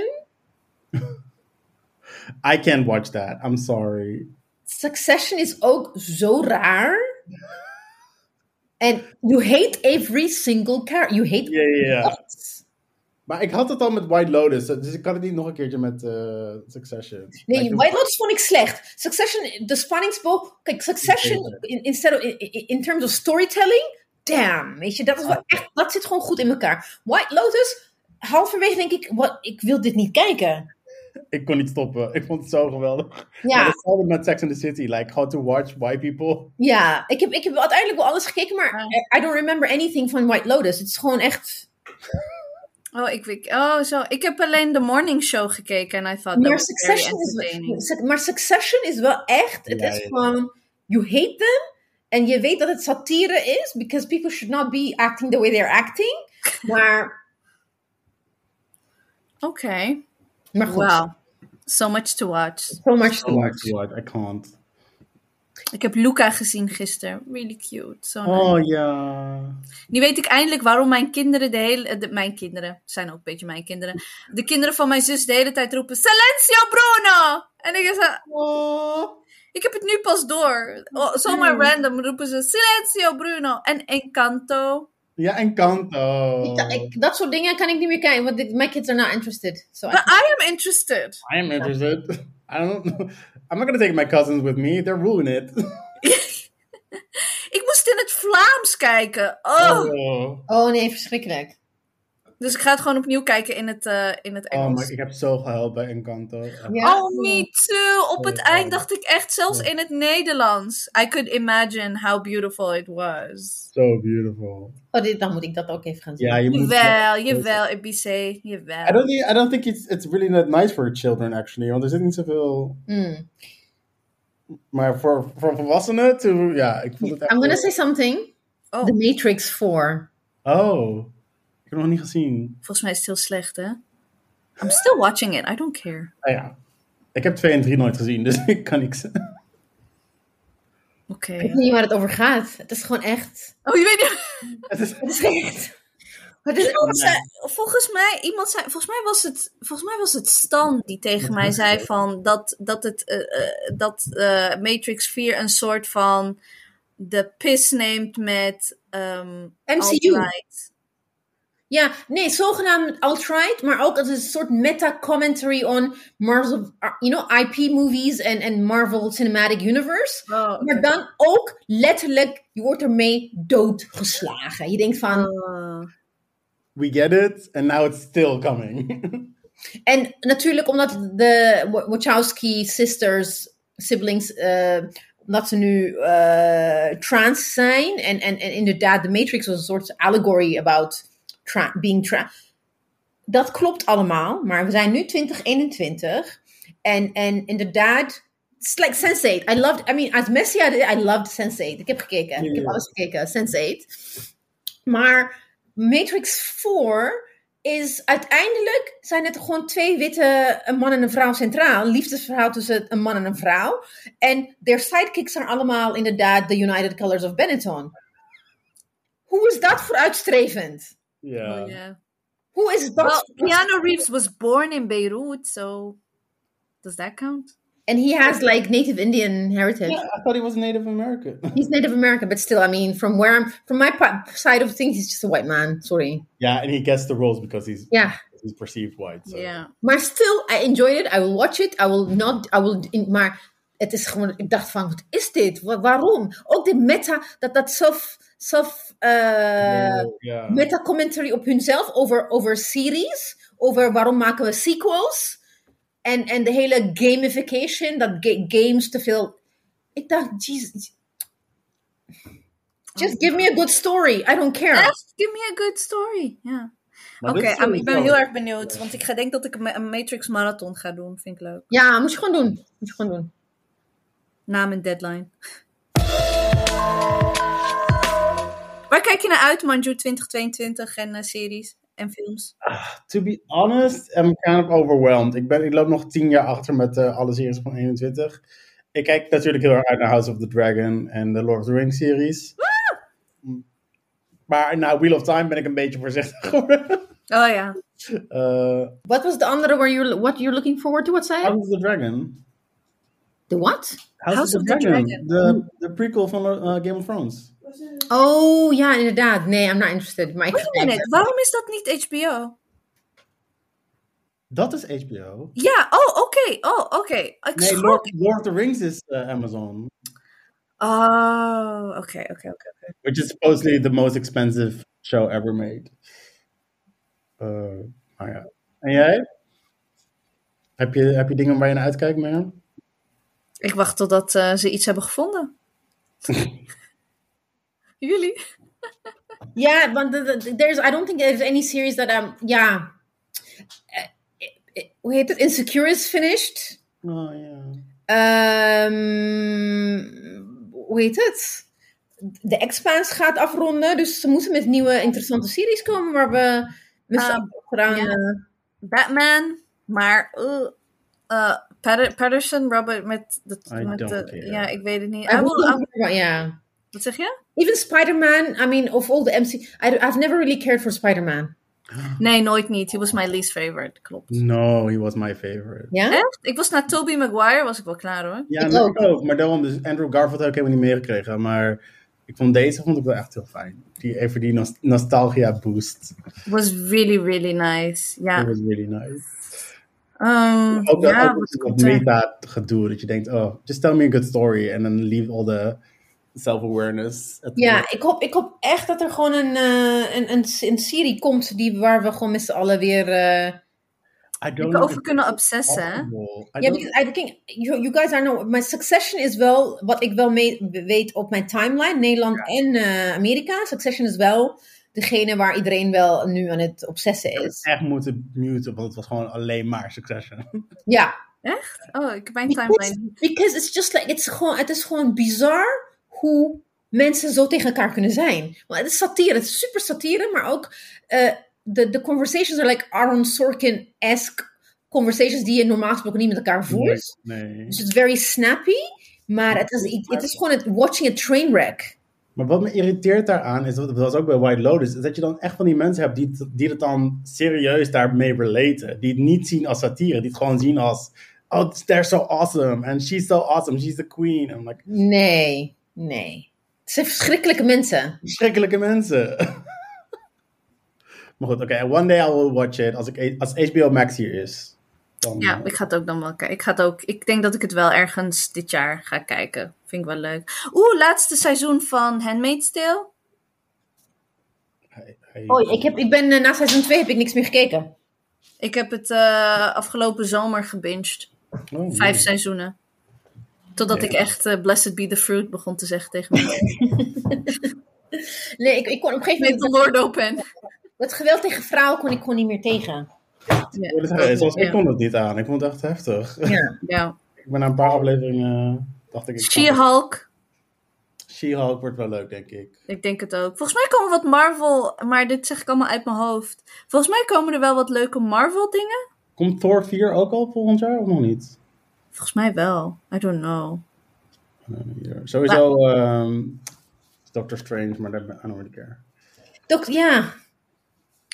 S3: I can't watch that. I'm sorry.
S1: Succession is ook zo raar. En you hate every single character. You hate
S3: Ja, ja, ja.
S1: What?
S3: Maar ik had het al met White Lotus, dus ik kan het niet nog een keertje met eh, Succession. Maar ik
S1: Nee,
S3: doe-
S1: White Lotus vond ik slecht. Succession, de spanningsboog. Kijk, Succession,
S3: Zeker.
S1: in, instead of, in, in terms of storytelling, damn. Weet je, dat, is
S3: Ah.
S1: wel echt, dat zit gewoon goed in elkaar. White Lotus, halverwege denk ik, wat, ik wil dit niet kijken.
S3: Ik kon niet stoppen. Ik vond het zo geweldig. Maar
S1: Ja,
S3: Hetzelfde met Sex and the City, like how to watch white people.
S1: ja. Ik, heb, ik heb uiteindelijk wel alles gekeken, maar
S2: Ah.
S1: I- I don't remember anything van White Lotus. Het is gewoon echt
S2: Oh, ik weet. Oh, zo. Ik heb alleen de morning show gekeken en I thought that
S1: Maar
S2: was very
S1: Succession,
S2: entertaining.
S1: is, Suc- maar Succession is wel echt. Het
S3: Ja,
S1: is
S3: ja.
S1: gewoon. You hate them. En je weet dat het satire is. Because people should not be acting the way they're acting. Maar,
S2: Oké.
S1: maar goed.
S2: Wow. So much to watch.
S1: So much to
S3: Oh my
S1: watch.
S3: god, I can't.
S2: Ik heb Luca gezien gisteren. Really cute. Zo nice.
S3: Oh ja.
S2: Nu weet ik eindelijk waarom mijn kinderen de hele... eh, de- mijn kinderen zijn ook een beetje mijn kinderen. De kinderen van mijn zus de hele tijd roepen... Silencio Bruno! En ik, zo,
S3: Oh.
S2: ik heb het nu pas door. Oh, zomaar
S1: Hmm.
S2: random roepen ze... Silencio Bruno! En Encanto.
S3: Ja, en Kanto.
S1: Ik, ik- dat soort dingen kan ik niet meer kijken. Want ik- my kids are not nou interested. So I-
S2: But I am interested.
S3: I am interested. I don't know. I'm not gonna take my cousins with me. They're ruining it.
S2: Ik moest in het Vlaams kijken. Oh.
S3: Oh,
S1: oh nee, verschrikkelijk.
S2: Dus ik ga het gewoon opnieuw kijken in het, eh, in het
S3: oh
S2: Engels.
S3: my, ik heb zo gehuild bij Encanto.
S1: Ja.
S2: Oh, me too. Op het
S3: Oh,
S2: eind
S3: wow.
S2: dacht ik echt, zelfs in het Nederlands. I could imagine how beautiful it was.
S3: So beautiful.
S1: Oh, dit, dan moet ik dat ook even gaan zien.
S3: Ja, je moet.
S2: Jawel, jawel, Ibiza,
S3: I
S2: jawel.
S3: don't, think, I don't think it's, it's really not nice for children, actually. Want er zit niet zoveel...
S1: Hmm.
S3: Maar voor, voor volwassenen, to, ja, ik vond het echt...
S1: I'm gonna say something.
S2: Oh,
S1: The Matrix 4.
S3: Oh, ik heb nog niet gezien.
S2: volgens mij is het heel slecht, hè? I'm still watching it, I don't care.
S3: Nou ja, ik heb 2 en 3 nooit gezien, dus ik kan niks...
S2: Oké.
S1: Ik weet niet waar het over gaat. Het is gewoon echt.
S2: Oh, je weet niet...
S3: Het is-
S1: Het is echt. Het is
S2: Iemand zei- volgens mij, iemand zei, volgens mij was het, volgens mij was het Stan die tegen mij zei van dat, dat, het, eh, eh, dat eh, Matrix 4 een soort van de piss neemt met ehm,
S1: MCU.
S2: Alt-Right.
S1: Ja, nee, zogenaamd alt-right, maar ook als een soort meta-commentary on Marvel, you know, IP-movies en en Marvel Cinematic Universe.
S2: Oh, oké.
S1: Maar dan ook letterlijk, je wordt ermee doodgeslagen. Je denkt van,
S2: Ah.
S3: We get it, and now it's still coming.
S1: en natuurlijk omdat de Wa- Wachowski sisters, siblings, eh, omdat ze nu eh, trans zijn. En, en, en inderdaad, The Matrix was een soort allegory about tra- being trans. Dat klopt allemaal, maar we zijn nu 2021. En, en inderdaad, it's like Sense8. I loved, I mean, as Messi had it, I loved Sense8. Ik heb gekeken, ik heb
S3: Ja.
S1: alles gekeken, Sense8. Maar Matrix 4 is uiteindelijk, zijn het gewoon twee witte, een man en een vrouw centraal. Een liefdesverhaal tussen een man en een vrouw. En their sidekicks zijn allemaal inderdaad de United Colors of Benetton. Hoe is dat vooruitstrevend?
S3: ja.
S2: Oh, yeah.
S1: Hoe is
S2: Well,
S1: dat?
S2: Keanu Reeves was born in Beirut, so does that count?
S1: And he has like Native Indian heritage.
S3: Yeah, I thought he was Native American.
S1: He's Native American, but still, I mean, from where I'm, from my pa- side of things, he's just a white man. Sorry.
S3: yeah, and he gets the roles because he's
S1: Yeah,
S3: is perceived white. so.
S2: Ja.
S1: Maar still, I enjoyed it. I will watch it. I will not. I will, in- maar het is gewoon. Ik dacht van, wat is dit? Wa- waarom? Ook de meta, dat dat zelf, zelf eh,
S3: Oh, ja.
S1: meta commentary op hunzelf over over series, over waarom maken we sequels en en de hele gamification dat ga- games te veel. Ik dacht, jeez. Just give me a good story. I don't care.
S2: Echt? Give me a good story. Ja.
S3: Maar
S2: Oké,
S3: dit is
S2: ah, ik ben
S3: sowieso-
S2: heel erg benieuwd. Want ik ga, denk dat ik een ma- een Matrix Marathon ga doen. Vind ik leuk.
S1: Ja, moet je gewoon doen. Moet je gewoon doen.
S2: Na mijn deadline. Waar kijk je naar uit, Manju 2022 en eh, series en films?
S3: To be honest, I'm kind of overwhelmed. Ik, ben, ik loop nog tien jaar achter met eh, alle series van 21. Ik kijk natuurlijk heel erg uit naar House of the Dragon en de Lord of the Rings series.
S2: Ah!
S3: Maar na Wheel of Time ben ik een beetje voorzichtig geworden.
S2: Oh ja.
S3: Eh,
S1: What was the andere where you what you're looking forward to? What zei je?
S2: Oh.
S3: House of the Dragon.
S1: The what?
S2: House of the Dragon.
S3: De, de prequel van eh, Game of Thrones.
S1: Oh ja, inderdaad. Nee, I'm not interested. Maar ik
S2: Wait a minute, waarom is dat niet HBO?
S3: Dat is HBO.
S2: Ja, oh oké, oh oké. Ik
S3: Nee,
S2: schrok.
S3: Lord, Lord of the Rings is eh, Amazon.
S2: Oh, oké, oké, oké. oké.
S3: Which is supposedly the most expensive show ever made. Eh, maar ja. En jij? Heb je, heb je dingen waar je naar uitkijkt, Mirjam?
S2: Ik wacht totdat eh, ze iets hebben gevonden. Jullie?
S1: Ja, want de- de- there's, I don't think there's any series that I'm, ja. Eh, eh, Hoe heet het? Insecure is finished.
S3: Oh ja.
S1: Ehm, hoe heet het? De Expanse gaat afronden, dus ze moeten met nieuwe interessante series komen waar we met z'n
S2: Ah,
S1: allen op gedaan.
S2: ja.
S1: eh,
S2: Batman, maar eh, eh, Patter- Patterson, Robert met, de,
S3: I
S2: met
S3: don't
S2: de-
S3: care.
S2: ja, ik weet het niet.
S1: I
S2: I will- I
S1: wouldn't-
S2: will-
S1: ja.
S2: wat zeg je?
S1: Even Spider-Man, I mean, of all the MC, I, I've never really cared for Spider-Man.
S2: Nee, nooit niet. He was my least favorite. Klopt.
S3: No, he was my favorite.
S1: Ja?
S2: Echt? Ik was na Tobey Maguire was ik wel klaar hoor.
S3: Ja,
S1: Ik
S3: ik ook.
S1: ook.
S3: Maar daarom, dus Andrew Garfield heb ik helemaal niet meegekregen. Maar ik vond deze vond ik wel echt heel fijn. Die, even die nos- nostalgia boost.
S2: Was really really nice. Ja.
S3: That was really nice.
S2: Ehm,
S3: Ook dat,
S2: ja,
S3: ook
S2: wat
S3: dat,
S2: komt er?
S3: meta gedoe. Dat je denkt, oh, just tell me a good story. And then leave all the self-awareness. at the
S1: Ja, ik hoop, ik hoop echt dat er gewoon een, eh, een, een, een serie komt die, waar we gewoon met z'n allen weer. eh
S3: I don't
S2: Je kan
S3: know
S2: over
S3: if
S2: kunnen
S3: it's
S2: obsessen. hè?
S3: possible. I
S1: ja,
S3: don't-
S1: because I think you, you guys are know. My Succession is wel wat ik wel mee, weet op mijn timeline, Nederland en eh, Amerika. Succession is wel degene waar iedereen wel nu aan het obsessen is.
S3: echt moeten muten, want het was gewoon alleen maar Succession.
S1: Ja,
S2: Echt? Oh, ik heb mijn
S1: because,
S2: timeline.
S1: because it's just like it's gewoon, het is gewoon bizar hoe mensen zo tegen elkaar kunnen zijn. Want het is satire, het is super satire, maar ook eh, de de conversations are like Aaron Sorkin-esque conversations die je normaal gesproken niet met elkaar voert.
S3: Nee.
S1: Dus het is very snappy, maar het is, het is gewoon het watching a train wreck.
S3: Maar wat me irriteert daaraan, is, dat was ook bij White Lotus, is dat je dan echt van die mensen hebt die, het- die het dan serieus daarmee relaten. Die het niet zien als satire, die het gewoon zien als, oh, they're so awesome, and she's so awesome, she's the queen. En I'm like,
S1: Nee, nee. Het zijn verschrikkelijke mensen.
S3: verschrikkelijke mensen. maar goed, oké, one day I will watch it, als, ik, als HBO Max hier is. Dan, eh,
S2: Ja, ik ga het ook dan wel kijken. Ik, ga het ook, ik denk dat ik het wel ergens dit jaar ga kijken. Vind ik wel leuk. Oeh, laatste seizoen van Handmaid's Tale.
S3: Hij- hij-
S1: Oh, ik, heb, ik ben eh, na seizoen 2 heb ik niks meer gekeken.
S2: Ik heb het eh, afgelopen zomer gebinged.
S3: Oh,
S2: Vijf
S3: nee.
S2: seizoenen. Totdat ik echt eh, Blessed Be the Fruit begon te zeggen tegen me.
S1: Nee, ik, ik kon op een gegeven
S2: Met de
S1: moment...
S2: Lord Open.
S1: Het geweld tegen vrouwen kon ik gewoon niet meer tegen.
S3: Ik wil het zeggen, Eh, Zelfs ik
S2: Ja.
S3: kon het niet aan. Ik vond het echt heftig.
S1: Ja.
S2: Ja.
S3: Ik ben na een paar afleveringen. eh, dacht ik. ik ga-
S2: She-Hulk.
S3: She-Hulk wordt wel leuk, denk ik.
S2: Ik denk het ook. Volgens mij komen wat Marvel, maar dit zeg ik allemaal uit mijn hoofd. Volgens mij komen er wel wat leuke Marvel dingen.
S3: Komt Thor 4 ook al volgend jaar of nog niet?
S2: Volgens mij wel. I don't know.
S3: Eh, hier. Sowieso ehm, Doctor Strange, maar dat I don't really care.
S1: Dok, ja.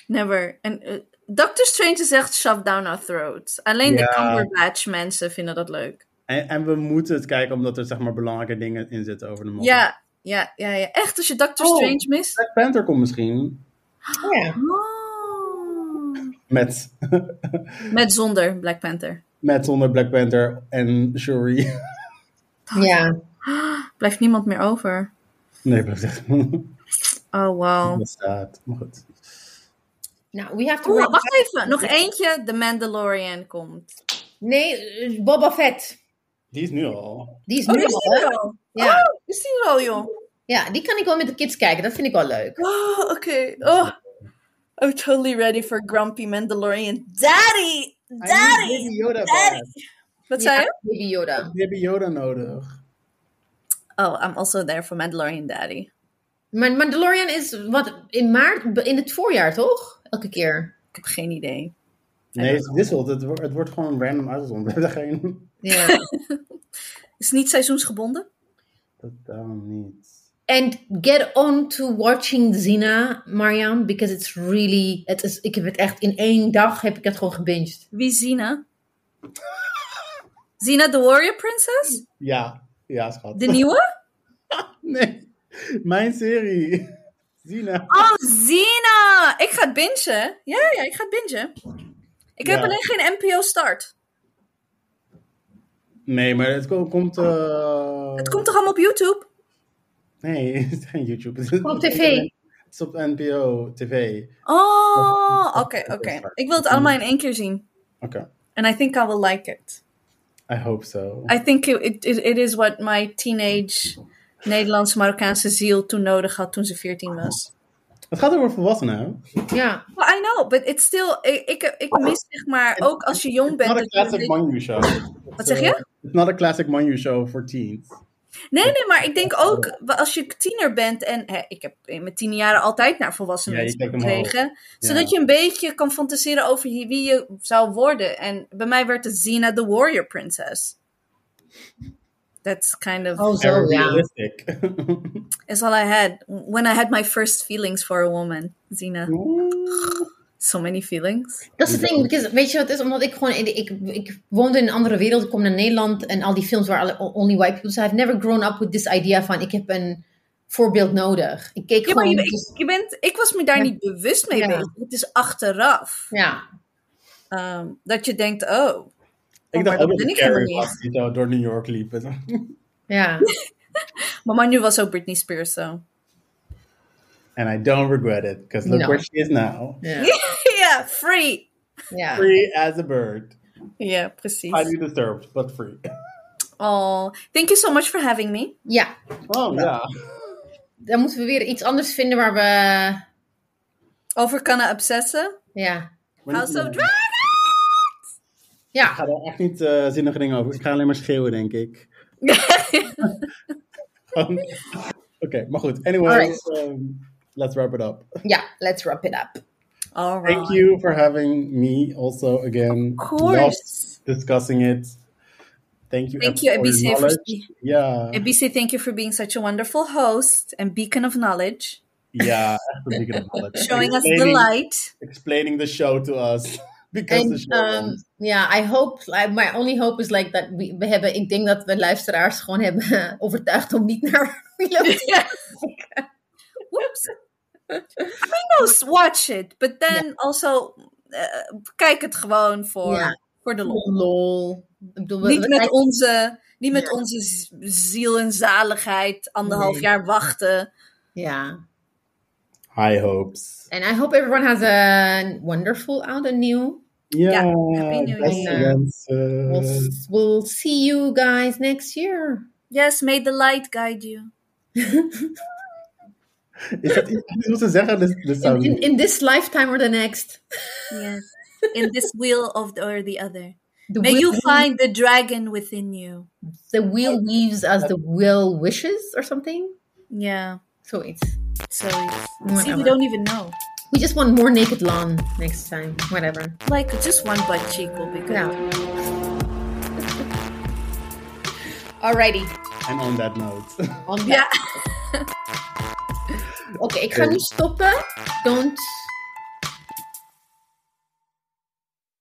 S2: Never. En eh, Doctor Strange is echt shoved down our throats. Alleen
S3: Ja.
S2: de Cumberbatch mensen vinden dat leuk.
S3: En, en we moeten het kijken omdat er zeg maar belangrijke dingen in zitten over de man.
S2: Ja, ja, ja, ja. Echt, als je Doctor
S1: Oh.
S2: Strange mist.
S3: Black Panther komt misschien.
S1: ja.
S2: Oh.
S3: Met,
S2: Met zonder Black Panther.
S3: met zonder Black Panther en Shuri.
S1: Yeah.
S2: Blijft niemand meer over.
S3: Nee, blijf zeggen.
S2: Oh, wow.
S3: Dat staat. Maar goed.
S1: Now Nou, we have to.
S2: Oeh,
S1: wrap
S2: wacht even. Nog eentje. The Mandalorian komt.
S1: Nee, eh, Boba Fett.
S3: Die is nu al.
S1: Die is
S2: Oh,
S1: nu
S2: die is
S1: al. hè?
S2: er al.
S1: Ja.
S2: Oh, is die er al, joh?
S1: ja, die kan ik wel met de kids kijken. Dat vind ik wel leuk.
S2: Oh, oké. Oh. I'm totally ready for Grumpy Mandalorian. Daddy!
S3: I
S2: Daddy!
S3: need Baby Yoda
S2: Daddy!
S3: back.
S2: Wat
S1: Ja,
S2: zei je?
S1: Baby Yoda.
S3: Baby Yoda nodig.
S2: Oh, I'm also there for Mandalorian Daddy.
S1: Maar Mandalorian is wat in maart, in het voorjaar toch? Elke keer.
S2: Ik heb geen idee.
S3: Nee, het wisselt. Het, wordt- het wordt gewoon random uitgezonden. We hebben geen...
S1: Ja.
S2: Is het niet seizoensgebonden?
S3: Totaal niet.
S1: And get on to watching Zina, Mariam, because it's really. Het is, ik heb het echt in één dag heb ik het gewoon gebinged.
S2: Wie is Zina? Zina the Warrior Princess?
S3: Ja, ja, schat.
S2: De nieuwe?
S3: Nee, mijn serie. nou. Zina.
S2: Oh, Zina! Ik ga het bingen. Ja, ja, ik ga het bingen. Ik heb
S3: Ja.
S2: alleen geen NPO start.
S3: Nee, maar het ko- komt. eh,
S2: Oh. Het komt toch allemaal op YouTube?
S3: Nee, het is geen YouTube. Het is
S1: Op tv.
S3: Het is op NPO TV.
S2: Oh, oké, oké. Ik wil het allemaal in één keer zien.
S3: Oké,
S2: And I think I will like it.
S3: I hope so.
S2: I think it, it, it is what my teenage Nederlandse Marokkaanse ziel toen nodig had toen ze 14 was.
S3: Het gaat over volwassenen. hè?
S1: Ja.
S2: Well, I know, but it's still... Ik, ik, ik mis zeg maar, ook als je jong bent...
S3: Not a
S2: dat je een
S3: classic
S2: beetje-
S3: Manju show.
S2: Wat zeg je?
S3: It's not a classic Manju show for teens.
S2: Nee, nee, maar ik denk ook wa- als je tiener bent en hè, ik heb in mijn tien jaren altijd naar volwassen
S3: Ja, je
S2: mensen
S3: kijkt omhoog.
S2: gekregen,
S3: Ja.
S2: zodat je een beetje kan fantaseren over hi- wie je zou worden. En bij mij werd het Zina the Warrior Princess. That's kind of
S1: Oh, zo
S3: Very
S1: ja.
S3: realistic.
S2: is all I had when I had my first feelings for a woman. Zina, so many feelings.
S1: Dat is het ding, because, weet je wat het is? Omdat ik gewoon, in de- ik, ik woonde in een andere wereld, ik kom naar Nederland en al die films waar alle- only white people. So I've never grown up with this idea van ik heb een voorbeeld nodig. Ik keek
S2: Ja, maar
S1: gewoon.
S2: je,
S1: Ja,
S2: bent- je bent, ik was me daar
S1: Ja.
S2: niet bewust mee
S1: Ja.
S2: bezig. Het is achteraf
S1: ja.
S2: ehm, dat je denkt, oh,
S3: ik
S2: maar
S3: dacht
S2: dat
S3: ook dat
S2: ben
S3: het
S2: ik helemaal
S3: Carrie
S2: niet.
S3: was die zo door New York liep.
S1: ja.
S2: Mama nu was ook Britney Spears, zo.
S3: And I don't regret it, because look
S1: No.
S3: where she is now.
S1: Ja.
S2: Ja, free.
S1: Ja.
S3: Free as a bird.
S2: Ja, precies.
S3: Highly disturbed, but free.
S2: Oh, thank you so much for having me.
S1: ja,
S3: Oh, ja.
S1: dan moeten we weer iets anders vinden waar we.
S2: Over Kana obsessen.
S1: Ja.
S2: House of Dragon.
S3: Ik
S1: Ja.
S3: ga daar echt niet eh, zinnige dingen over. Ik ga alleen maar schreeuwen, denk ik. Oké, maar goed. Um, Anyway,
S1: Alright.
S3: um, let's wrap it up.
S1: ja, let's wrap it up.
S2: All right.
S3: Thank you for having me also again.
S2: Of course.
S3: Loved discussing it. Thank you.
S2: Thank you,
S3: for your
S2: ABC. For,
S3: knowledge. Yeah.
S2: ABC, thank you for being such a wonderful host and beacon of knowledge,
S3: Yeah. echt een beacon of knowledge.
S2: showing us the
S3: Explaining-
S2: light.
S3: Explaining the show to us. Because the
S1: En
S3: show
S1: um,
S3: runs.
S1: ja, I hope, like, my only hope is like dat we, we hebben, ik denk dat we luisteraars gewoon hebben overtuigd om niet naar Willow te
S2: Whoops. I mean, no, s- watch it, but then also eh, kijk het gewoon voor,
S1: Ja.
S2: voor de lol.
S1: Oh, lol. Ik bedoel, we-
S2: Niet
S1: we-
S2: met onze, niet met
S1: Ja.
S2: onze z- ziel en zaligheid anderhalf
S1: Nee.
S2: jaar wachten.
S1: Ja.
S3: High hopes.
S1: And I hope everyone has a wonderful out and new.
S3: Yeah.
S2: Happy New
S3: best
S1: Year.
S3: wensen.
S1: We'll, we'll see you guys next year.
S2: Yes, may the light guide you.
S3: Is dat iets wat ze zeggen? Dit- dit zou
S1: In, in, in this lifetime or the next.
S2: Yes. In this wheel of the, or the other.
S1: The
S2: May
S1: wheel-
S2: you find the dragon within you.
S1: the wheel weaves as the will wishes or something.
S2: Yeah.
S1: So it's
S2: So it's- see,
S1: Whatever.
S2: we don't even know.
S1: we just want more naked lawn next time. Whatever.
S2: Like just one butt cheek will be good.
S1: Yeah. Alrighty.
S3: En on that note.
S1: On that.
S2: Yeah.
S1: Oké, ik ga nu stoppen. Don't